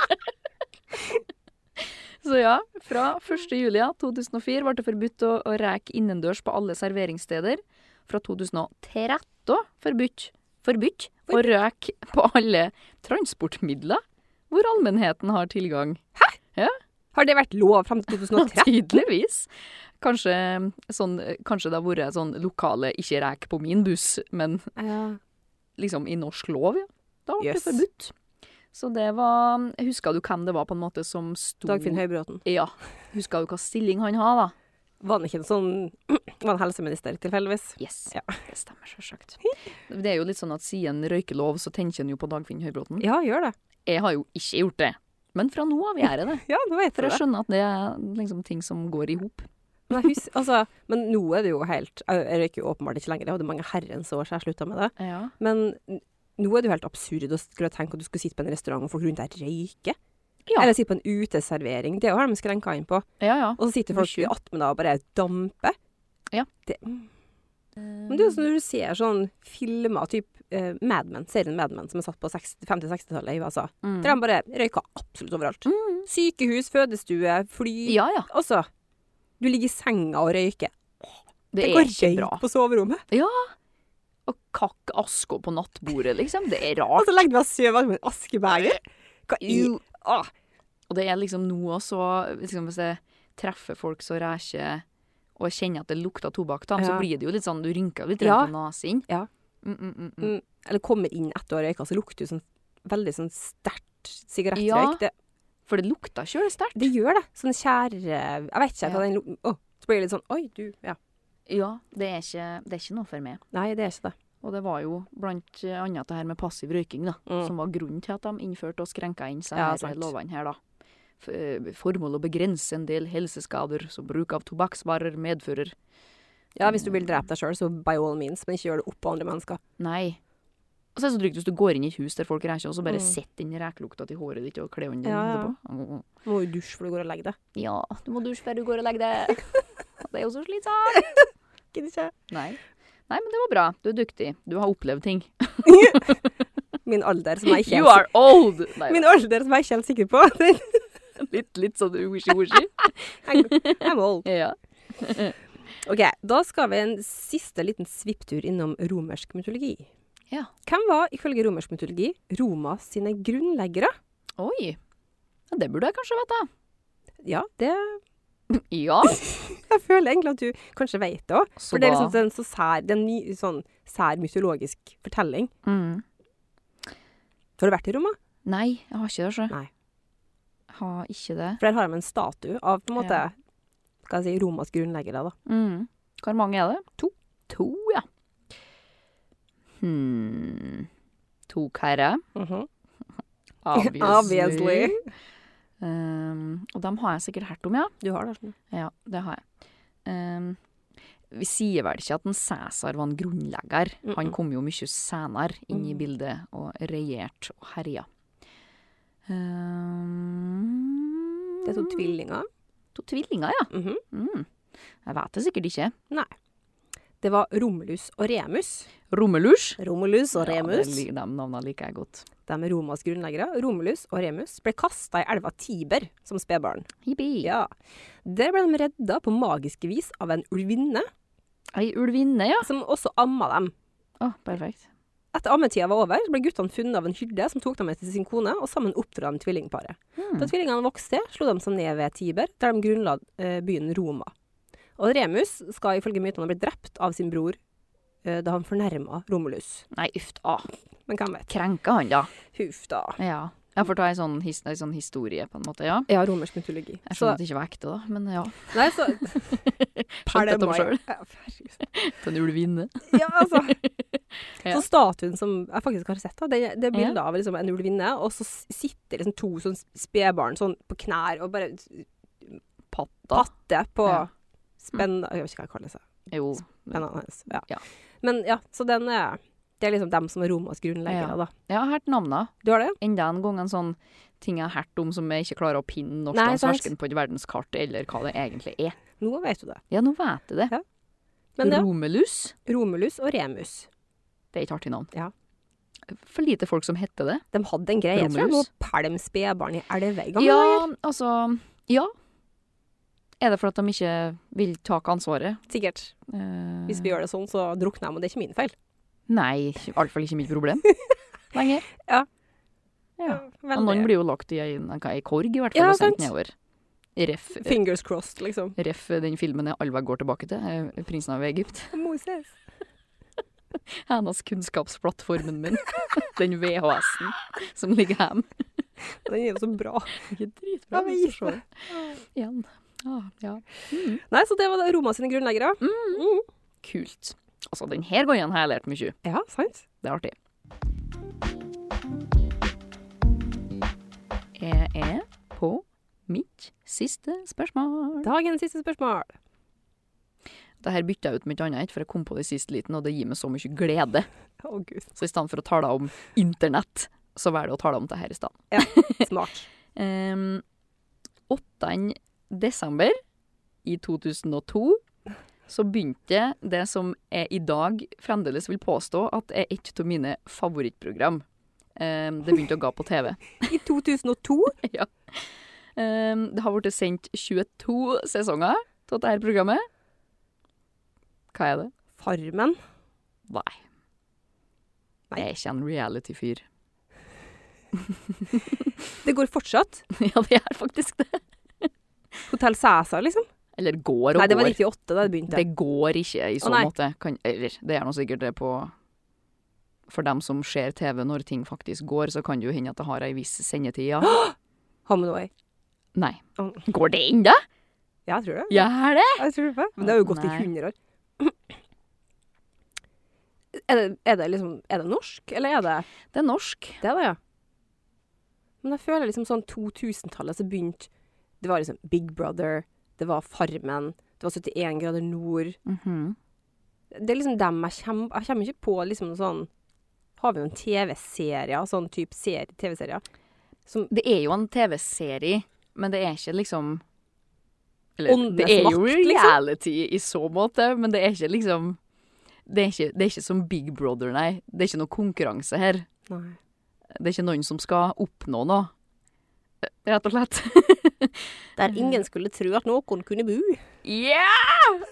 Speaker 3: Så ja, fra 1. juli ja, 2004 ble det forbudt å, å reke innendørs på alle serveringssteder. Fra 2013 forbudt, forbudt å røke på alle transportmidler hvor allmennheten har tilgang.
Speaker 2: Har det vært lov frem
Speaker 3: <laughs>
Speaker 2: til 2013?
Speaker 3: Tydeligvis. Kanskje, sånn, kanskje det har vært sånn lokale 'ikke rek på min buss', men
Speaker 2: Ja.
Speaker 3: liksom i norsk lov, ja. Da ble
Speaker 2: Yes.
Speaker 3: det forbudt. Så det var Husker du hvem det var på en måte som sto
Speaker 2: Dagfinn Høybråten.
Speaker 3: Ja. Husker du hva stilling han har, da?
Speaker 2: Var han ikke en sånn <clears throat> Var han helseminister, tilfeldigvis?
Speaker 3: Yes.
Speaker 2: Ja.
Speaker 3: Det stemmer selvsagt. Det er jo litt sånn at siden røykelov, så tenker en jo på Dagfinn Høybråten.
Speaker 2: Ja, gjør det.
Speaker 3: Jeg har jo ikke gjort det. Men fra nå av gjør jeg det.
Speaker 2: Ja, nå vet
Speaker 3: For
Speaker 2: du
Speaker 3: jeg
Speaker 2: det.
Speaker 3: skjønner at det er liksom ting som går i hop.
Speaker 2: Men, jeg husker, altså, men nå er det jo helt Jeg jeg røyker jo åpenbart ikke lenger, det hadde mange herrens år siden jeg slutta med det.
Speaker 3: Ja.
Speaker 2: Men n- nå er det jo helt absurd å skulle tenke at du skulle sitte på en restaurant og folk rundt deg røyker.
Speaker 3: Ja.
Speaker 2: Eller sitte på en uteservering. Det er jo her de skrenka inn på.
Speaker 3: ja, ja.
Speaker 2: Og så sitter folk
Speaker 3: Mykje.
Speaker 2: attmed deg og bare damper.
Speaker 3: Ja.
Speaker 2: Det, mm. men det er jo sånn når du ser sånn filmer, type eh, Mad Men, serien Mad Men som er satt på 60 50-60-tallet i USA,
Speaker 3: Mm.
Speaker 2: der de bare røyker absolutt overalt.
Speaker 3: Mm.
Speaker 2: Sykehus, fødestue, fly.
Speaker 3: Ja, ja.
Speaker 2: Altså, du ligger i senga og røyker.
Speaker 3: Det,
Speaker 2: Tenk å
Speaker 3: er ikke
Speaker 2: røyke
Speaker 3: bra.
Speaker 2: på soverommet.
Speaker 3: Og kakk aska på nattbordet, liksom. Det er
Speaker 2: Og
Speaker 3: rart.
Speaker 2: så legger du deg og sover med en askebeger. Hva Altså, i
Speaker 3: Ew.
Speaker 2: Åh,
Speaker 3: Og det er liksom nå også, liksom hvis jeg treffer folk som reker og jeg kjenner at det lukter tobakk, da, så
Speaker 2: Ja.
Speaker 3: blir det jo litt sånn, du rynker litt
Speaker 2: Ja.
Speaker 3: rundt på nesen.
Speaker 2: Ja.
Speaker 3: Mm, mm, mm, mm.
Speaker 2: Mm, Eller kommer inn etter å ha røyka, så lukter du sånn veldig sånn sterkt
Speaker 3: Ja.
Speaker 2: sigarettrøyk. Det,
Speaker 3: For det lukter kjølig sterkt.
Speaker 2: det gjør det. Sånn kjære Jeg vet ikke
Speaker 3: Ja.
Speaker 2: hva den lukten Åh, Så blir det litt sånn Oi, du. Ja.
Speaker 3: Ja, det er, ikke, det er ikke noe for meg.
Speaker 2: Nei, det er ikke det.
Speaker 3: Og det var jo blant annet det her med passiv røyking, da,
Speaker 2: Mm.
Speaker 3: som var grunnen til at de innførte og skrenka inn seg
Speaker 2: Ja,
Speaker 3: her
Speaker 2: sant.
Speaker 3: lovene her, da. F- eh, Formål å begrense en del helseskader som bruk av tobakksvarer medfører.
Speaker 2: Ja, hvis du vil drepe deg sjøl, så by all means, men ikke gjør det oppå andre mennesker.
Speaker 3: Nei. Og så er det så trygt hvis du går inn i et hus der folk reker, og så bare
Speaker 2: Mm.
Speaker 3: setter inn rekelukta til håret ditt og klærne dine
Speaker 2: Ja, ja.
Speaker 3: etterpå. Mm,
Speaker 2: Du må jo dusje før du går og legger deg.
Speaker 3: Ja, du må dusje før du går og legger <laughs> deg. Det er jo så slitsomt.
Speaker 2: Gidder ikke.
Speaker 3: Nei. Nei, men det var bra. Du er dyktig. Du har opplevd ting.
Speaker 2: Min alder, som jeg ikke
Speaker 3: <laughs> You
Speaker 2: er
Speaker 3: are old! Nei,
Speaker 2: Min alder som jeg ikke er helt sikker på. <laughs> Den-
Speaker 3: litt, litt sånn wishy-washy.
Speaker 2: I'm old.
Speaker 3: <laughs> Ja.
Speaker 2: OK, da skal vi en siste liten svipptur innom romersk mytologi.
Speaker 3: Ja.
Speaker 2: Hvem var ifølge romersk mytologi Roma sine grunnleggere?
Speaker 3: Oi. Ja, det burde jeg kanskje vite.
Speaker 2: Ja, det
Speaker 3: Ja.
Speaker 2: Jeg føler egentlig at du kanskje vet det òg.
Speaker 3: Så
Speaker 2: For det er
Speaker 3: da-
Speaker 2: liksom en så sær, det er en ny, sånn sær mytologisk fortelling.
Speaker 3: Mm.
Speaker 2: Har du vært i Roma?
Speaker 3: Nei, jeg har ikke det, sjø.
Speaker 2: Nei.
Speaker 3: Har ikke det.
Speaker 2: For der har de en statue av på en måte,
Speaker 3: Ja.
Speaker 2: skal jeg si, Romas grunnleggere. da.
Speaker 3: Mm. Hvor mange er det? To. To, ja. Hmm. To karer.
Speaker 2: Mhm.
Speaker 3: Obviously.
Speaker 2: <laughs> Obviously.
Speaker 3: Um, og dem har jeg sikkert hørt om, ja.
Speaker 2: Du har det, sånn.
Speaker 3: Ja, det har jeg. Um, Vi sier vel ikke at en Cæsar var en grunnlegger. Han
Speaker 2: Mm-mm.
Speaker 3: kom jo mye senere inn i
Speaker 2: Mm.
Speaker 3: bildet og regjerte og herja. Ehm,
Speaker 2: Det er to tvillinger.
Speaker 3: To tvillinger, ja.
Speaker 2: Mhm.
Speaker 3: Mm. Jeg vet det sikkert ikke.
Speaker 2: Det var Romulus og Remus.
Speaker 3: Rommelus.
Speaker 2: Romulus og
Speaker 3: Ja,
Speaker 2: Remus,
Speaker 3: det li- de navnene liker jeg godt.
Speaker 2: de er Romas grunnleggere, Romulus og Remus, ble kasta i elva Tiber som spedbarn.
Speaker 3: Jippi.
Speaker 2: Ja. Der ble de redda på magisk vis av en ulvinne,
Speaker 3: Ei ulvinne, ja.
Speaker 2: som også amma dem.
Speaker 3: Å, perfekt.
Speaker 2: Etter ammetida var over, ble guttene funnet av en hyrde som tok dem med til sin kone, og sammen oppdro de tvillingparet.
Speaker 3: Hmm.
Speaker 2: Da tvillingene vokste, slo de seg ned ved Tiber, der de grunnla eh, byen Roma. Og Remus skal ifølge mytene ha blitt drept av sin bror eh, da han fornærma Romulus.
Speaker 3: Nei, uff da.
Speaker 2: Men hvem vet?
Speaker 3: Krenka han, da.
Speaker 2: Huff da.
Speaker 3: Ja. Jeg får ta ei sånn, his ei sånn historie, på en måte. Ja.
Speaker 2: Ja, romersk mytologi.
Speaker 3: Jeg
Speaker 2: Så,
Speaker 3: skjønner at det ikke var ekte, da, men ja.
Speaker 2: nei, så
Speaker 3: <laughs> Skjønte
Speaker 2: Perle
Speaker 3: dem
Speaker 2: Mai.
Speaker 3: sjøl.
Speaker 2: Ja, herregud.
Speaker 3: Den ulvinne.
Speaker 2: <laughs> Ja, altså.
Speaker 3: <laughs> Ja.
Speaker 2: Så statuen som jeg faktisk har sett, da, det, det er
Speaker 3: Ja.
Speaker 2: bildet av liksom, en ulvinne, og så s- sitter liksom to sånn spedbarn sånn, på knær og bare
Speaker 3: Patta.
Speaker 2: patter på
Speaker 3: Ja.
Speaker 2: spenna Jeg vet ikke hva jeg kaller det.
Speaker 3: Jo.
Speaker 2: Spennene hennes. Ja.
Speaker 3: Ja.
Speaker 2: Men ja, så den er Det er liksom dem som er Romas grunnleggere, da.
Speaker 3: Jeg har hørt navna.
Speaker 2: Du har det?
Speaker 3: Enda en gang en sånn ting jeg har hørt om som jeg ikke klarer å pinne norsk
Speaker 2: Nei,
Speaker 3: dans
Speaker 2: sant.
Speaker 3: verken på et verdenskart eller hva det egentlig er.
Speaker 2: Nå vet du det.
Speaker 3: Ja, nå vet jeg det.
Speaker 2: Men ja,
Speaker 3: Romelus.
Speaker 2: Romulus og Remus,
Speaker 3: Det er et artig navn.
Speaker 2: Ja.
Speaker 3: For lite folk som heter det.
Speaker 2: de hadde en greie. Jeg tror det
Speaker 3: Romulus?
Speaker 2: var pælm spedbarn i elva i gamle dager.
Speaker 3: Ja, altså Ja. Er det for at de ikke vil ta ansvaret?
Speaker 2: Sikkert.
Speaker 3: Eh,
Speaker 2: Hvis vi gjør det sånn, så drukner de, og det er ikke min feil.
Speaker 3: Nei, i hvert fall ikke
Speaker 2: <laughs>
Speaker 3: mitt problem. Lenger.
Speaker 2: Ja.
Speaker 3: ja. Og
Speaker 2: Veldig.
Speaker 3: noen blir jo lagt i en, en, en korg, i hvert fall,
Speaker 2: Ja,
Speaker 3: og sendt
Speaker 2: sant.
Speaker 3: nedover. Ref, eh,
Speaker 2: Fingers crossed,
Speaker 3: <laughs>
Speaker 2: liksom.
Speaker 3: ref den filmen jeg allveg går tilbake til, eh, 'Prinsen av Egypt'. <laughs>
Speaker 2: Moses.
Speaker 3: Hennes kunnskapsplattformen min. <laughs> Den VHS-en som ligger hjemme.
Speaker 2: Den er jo så bra.
Speaker 3: Det er
Speaker 2: Ja,
Speaker 3: Dritbra.
Speaker 2: men
Speaker 3: hvis du ser det. Igjen. Ah, ja.
Speaker 2: Nei, så det var det Roma sine grunnleggere. Mm.
Speaker 3: Kult. Altså, den her gangen har jeg lært mye.
Speaker 2: Ja, sant?
Speaker 3: Det er artig. Jeg er på mitt siste spørsmål.
Speaker 2: Dagens siste spørsmål.
Speaker 3: Dette her bytta jeg ut med et annet, for jeg kom på det i sist liten, og det gir meg så mye glede.
Speaker 2: Å, gud.
Speaker 3: Så i stedet for å tale om internett, så velger jeg å tale om det her i stedet.
Speaker 2: Smart.
Speaker 3: Ehm, 8. desember i 2002 så begynte det som jeg i dag fremdeles vil påstå at er et av mine favorittprogram. Ehm, det begynte å gå på TV.
Speaker 2: I 2002
Speaker 3: Ehm, det har blitt sendt 22 sesonger av dette programmet. Hva er det?
Speaker 2: Farmen.
Speaker 3: Nei.
Speaker 2: Nei.
Speaker 3: Jeg er ikke en reality-fyr. <laughs>
Speaker 2: Det går fortsatt.
Speaker 3: ja, det er faktisk det.
Speaker 2: Hotell Cæsar, liksom.
Speaker 3: Eller går og
Speaker 2: Nei, det var
Speaker 3: går.
Speaker 2: 98 da det begynte.
Speaker 3: Det går ikke i så
Speaker 2: nei.
Speaker 3: måte. Kan, eller, det er nå sikkert det på For dem som ser TV når ting faktisk går, så kan det jo hende at det har ei viss sendetid, ja. <gasps>
Speaker 2: Hamonway.
Speaker 3: Nei.
Speaker 2: Å.
Speaker 3: Går det ennå?
Speaker 2: Ja, jeg tror det.
Speaker 3: Gjør det?
Speaker 2: Jeg tror det. Men det har jo gått
Speaker 3: Nei.
Speaker 2: i 100 år. <clears throat> Er det, er det liksom Er det norsk, eller er det
Speaker 3: Det er norsk.
Speaker 2: Det er det, ja. Men jeg føler liksom sånn 2000-tallet så begynte Det var liksom Big Brother, det var Farmen, det var 71 grader nord.
Speaker 3: Mhm.
Speaker 2: Det er liksom dem jeg kommer Jeg kommer ikke på liksom noe sånn Har vi noen TV-serier, sånn type serie- TV-serier?
Speaker 3: Det er jo en TV-serie, men det er ikke liksom
Speaker 2: Åndenes
Speaker 3: det er jo
Speaker 2: makt, liksom.
Speaker 3: reality i så måte, men det er ikke liksom det er ikke, det er ikke som Big Brother, nei. Det er ikke noe konkurranse her.
Speaker 2: Nei.
Speaker 3: Det er ikke noen som skal oppnå noe. eh, Rett og slett.
Speaker 2: Der ingen skulle tro at noen kunne bo.
Speaker 3: Ja!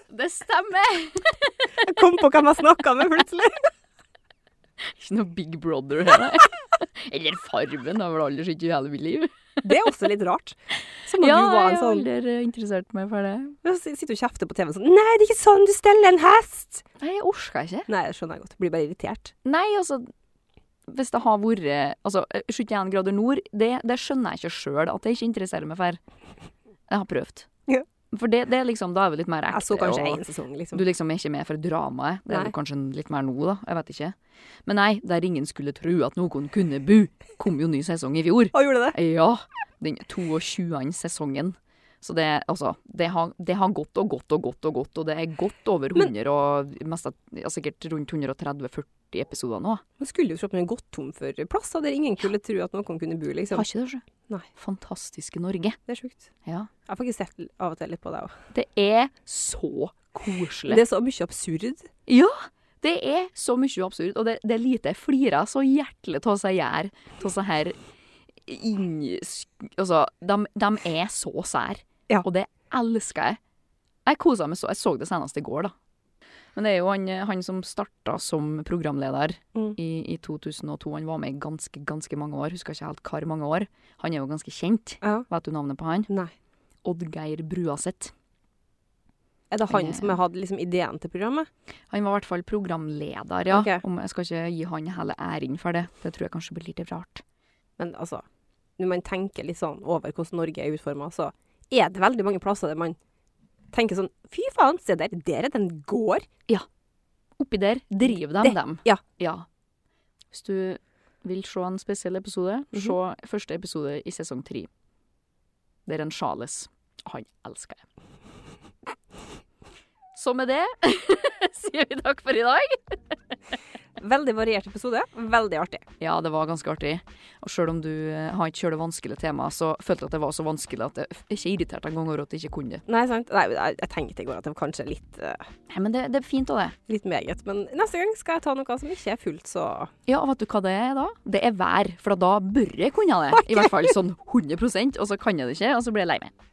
Speaker 3: Det stemmer!
Speaker 2: Jeg kom på hvem jeg snakka med plutselig.
Speaker 3: Ikke noe Big Brother her. nei. <laughs> Eller Farmen. Jeg har vel aldri sett i hele mitt liv.
Speaker 2: <laughs> Det er også litt rart. Som om du var en sånn
Speaker 3: aldri interessert meg for det.
Speaker 2: Sitter og kjefter på TV sånn Nei, det er ikke sånn du steller en hest!
Speaker 3: Nei, jeg orker ikke.
Speaker 2: Nei, det skjønner jeg godt. Blir bare irritert.
Speaker 3: Nei, altså Hvis det har vært Altså, 71 grader nord, det, det skjønner jeg ikke sjøl at jeg ikke interesserer meg for. Jeg har prøvd.
Speaker 2: Ja.
Speaker 3: For det, det er liksom Da er vi litt mer ekte.
Speaker 2: Jeg så kanskje
Speaker 3: og-
Speaker 2: én sesong, liksom.
Speaker 3: Du liksom er ikke med for dramaet. Det
Speaker 2: Nei.
Speaker 3: er du kanskje litt mer nå, da. Jeg vet ikke. Men nei, der ingen skulle tro at noen kunne bu, kom jo ny sesong i fjor.
Speaker 2: Å, gjorde det?
Speaker 3: Ja. Den 22. sesongen. Så det, altså, det, har, det har gått og gått og gått og gått, og det er godt over
Speaker 2: Men-
Speaker 3: 100 og mest, av- ja, sikkert rundt 130-40 episoder nå.
Speaker 2: Man skulle jo tro at man hadde gått tom for plass, hadde ingen kunne tro at noen kunne bo, liksom.
Speaker 3: Har ikke det, sjø.
Speaker 2: Nei.
Speaker 3: Fantastiske Norge.
Speaker 2: Det er sjukt.
Speaker 3: Ja.
Speaker 2: Jeg har faktisk sett av og til litt på deg òg.
Speaker 3: Det er så koselig.
Speaker 2: Det er så mye absurd.
Speaker 3: Ja! Det er så mye absurd, og det, det er lite jeg flirer så hjertelig av seg gjør, av seg her inn... Altså, de, de er så sær,
Speaker 2: Ja.
Speaker 3: og det elsker jeg. Jeg koset meg så, jeg så det senest i går da. Men det er jo han, han som startet som programleder
Speaker 2: Mm.
Speaker 3: i, i 2002, han var med i ganske, ganske mange år, husker ikke helt hver mange år. Han er jo ganske kjent,
Speaker 2: Ja.
Speaker 3: vet du navnet på han?
Speaker 2: Nei.
Speaker 3: Oddgeir Bruaseth.
Speaker 2: Er det han
Speaker 3: Eh.
Speaker 2: som har hatt liksom, ideen til programmet?
Speaker 3: Han var i hvert fall programleder, ja.
Speaker 2: Ok.
Speaker 3: Om jeg skal ikke gi han hele æren for det. Det tror jeg kanskje blir litt rart.
Speaker 2: Men altså, når man tenker litt sånn over hvordan Norge er utforma, så er det veldig mange plasser der man tenker sånn Fy faen, se der, der er den gård.
Speaker 3: Oppi der driver de
Speaker 2: Det-
Speaker 3: dem.
Speaker 2: ja.
Speaker 3: Hvis du vil se en spesiell episode, se første episode i sesong tre. Der en Charles Han elsker jeg. <laughs> Så med det <laughs> sier vi takk for i dag.
Speaker 2: Veldig variert episode. Veldig artig.
Speaker 3: Ja, det var ganske artig. Og sjøl om du eh, har ikke kjørt vanskelige tema, så følte jeg at det var så vanskelig at jeg f- ikke irriterte engang over at jeg ikke kunne det.
Speaker 2: Nei, sant? Nei, jeg, jeg tenkte i går at det var kanskje litt, eh,
Speaker 3: Nei, men det, det er fint av det.
Speaker 2: litt meget. Men neste gang skal jeg ta noe som ikke er fullt så
Speaker 3: Ja, vet du hva det er da? Det er vær, for da bør jeg kunne det. I hvert fall sånn 100 og så kan jeg det ikke, og så blir jeg lei meg.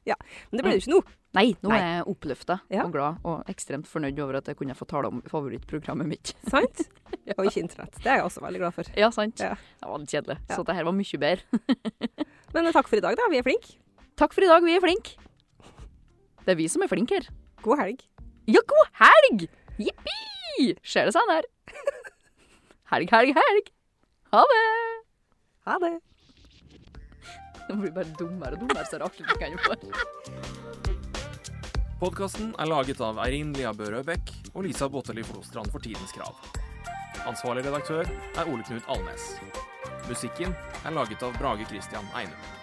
Speaker 2: Men det ble det jo ikke nå.
Speaker 3: Nei, nå
Speaker 2: Nei.
Speaker 3: er jeg oppløfta
Speaker 2: Ja.
Speaker 3: og glad, og ekstremt fornøyd over at jeg kunne få tale om favorittprogrammet mitt. <laughs>
Speaker 2: Sant? <laughs> Og ikke internett. Det er jeg også veldig glad for.
Speaker 3: Ja, sant?
Speaker 2: Ja.
Speaker 3: Det var litt kjedelig,
Speaker 2: Ja.
Speaker 3: så det her var mye bedre. <laughs>
Speaker 2: Men eh, takk for i dag, da. Vi er flinke.
Speaker 3: Takk for i dag, vi er flinke. Det er vi som er flinke her.
Speaker 2: God helg.
Speaker 3: Ja, god helg! Jippi! Ser det seg
Speaker 2: <laughs>
Speaker 3: der. Helg, helg, helg. Ha det!
Speaker 2: Ha det.
Speaker 3: Det blir bare dummere og dummere, så rart du kan gjøre det.
Speaker 1: Podkasten er laget av Eirin Lia Børø Bech og Lisa Botteli Flostrand for Tidens Krav. Ansvarlig redaktør er Ole Knut Alnes. Musikken er laget av Brage Christian Einum.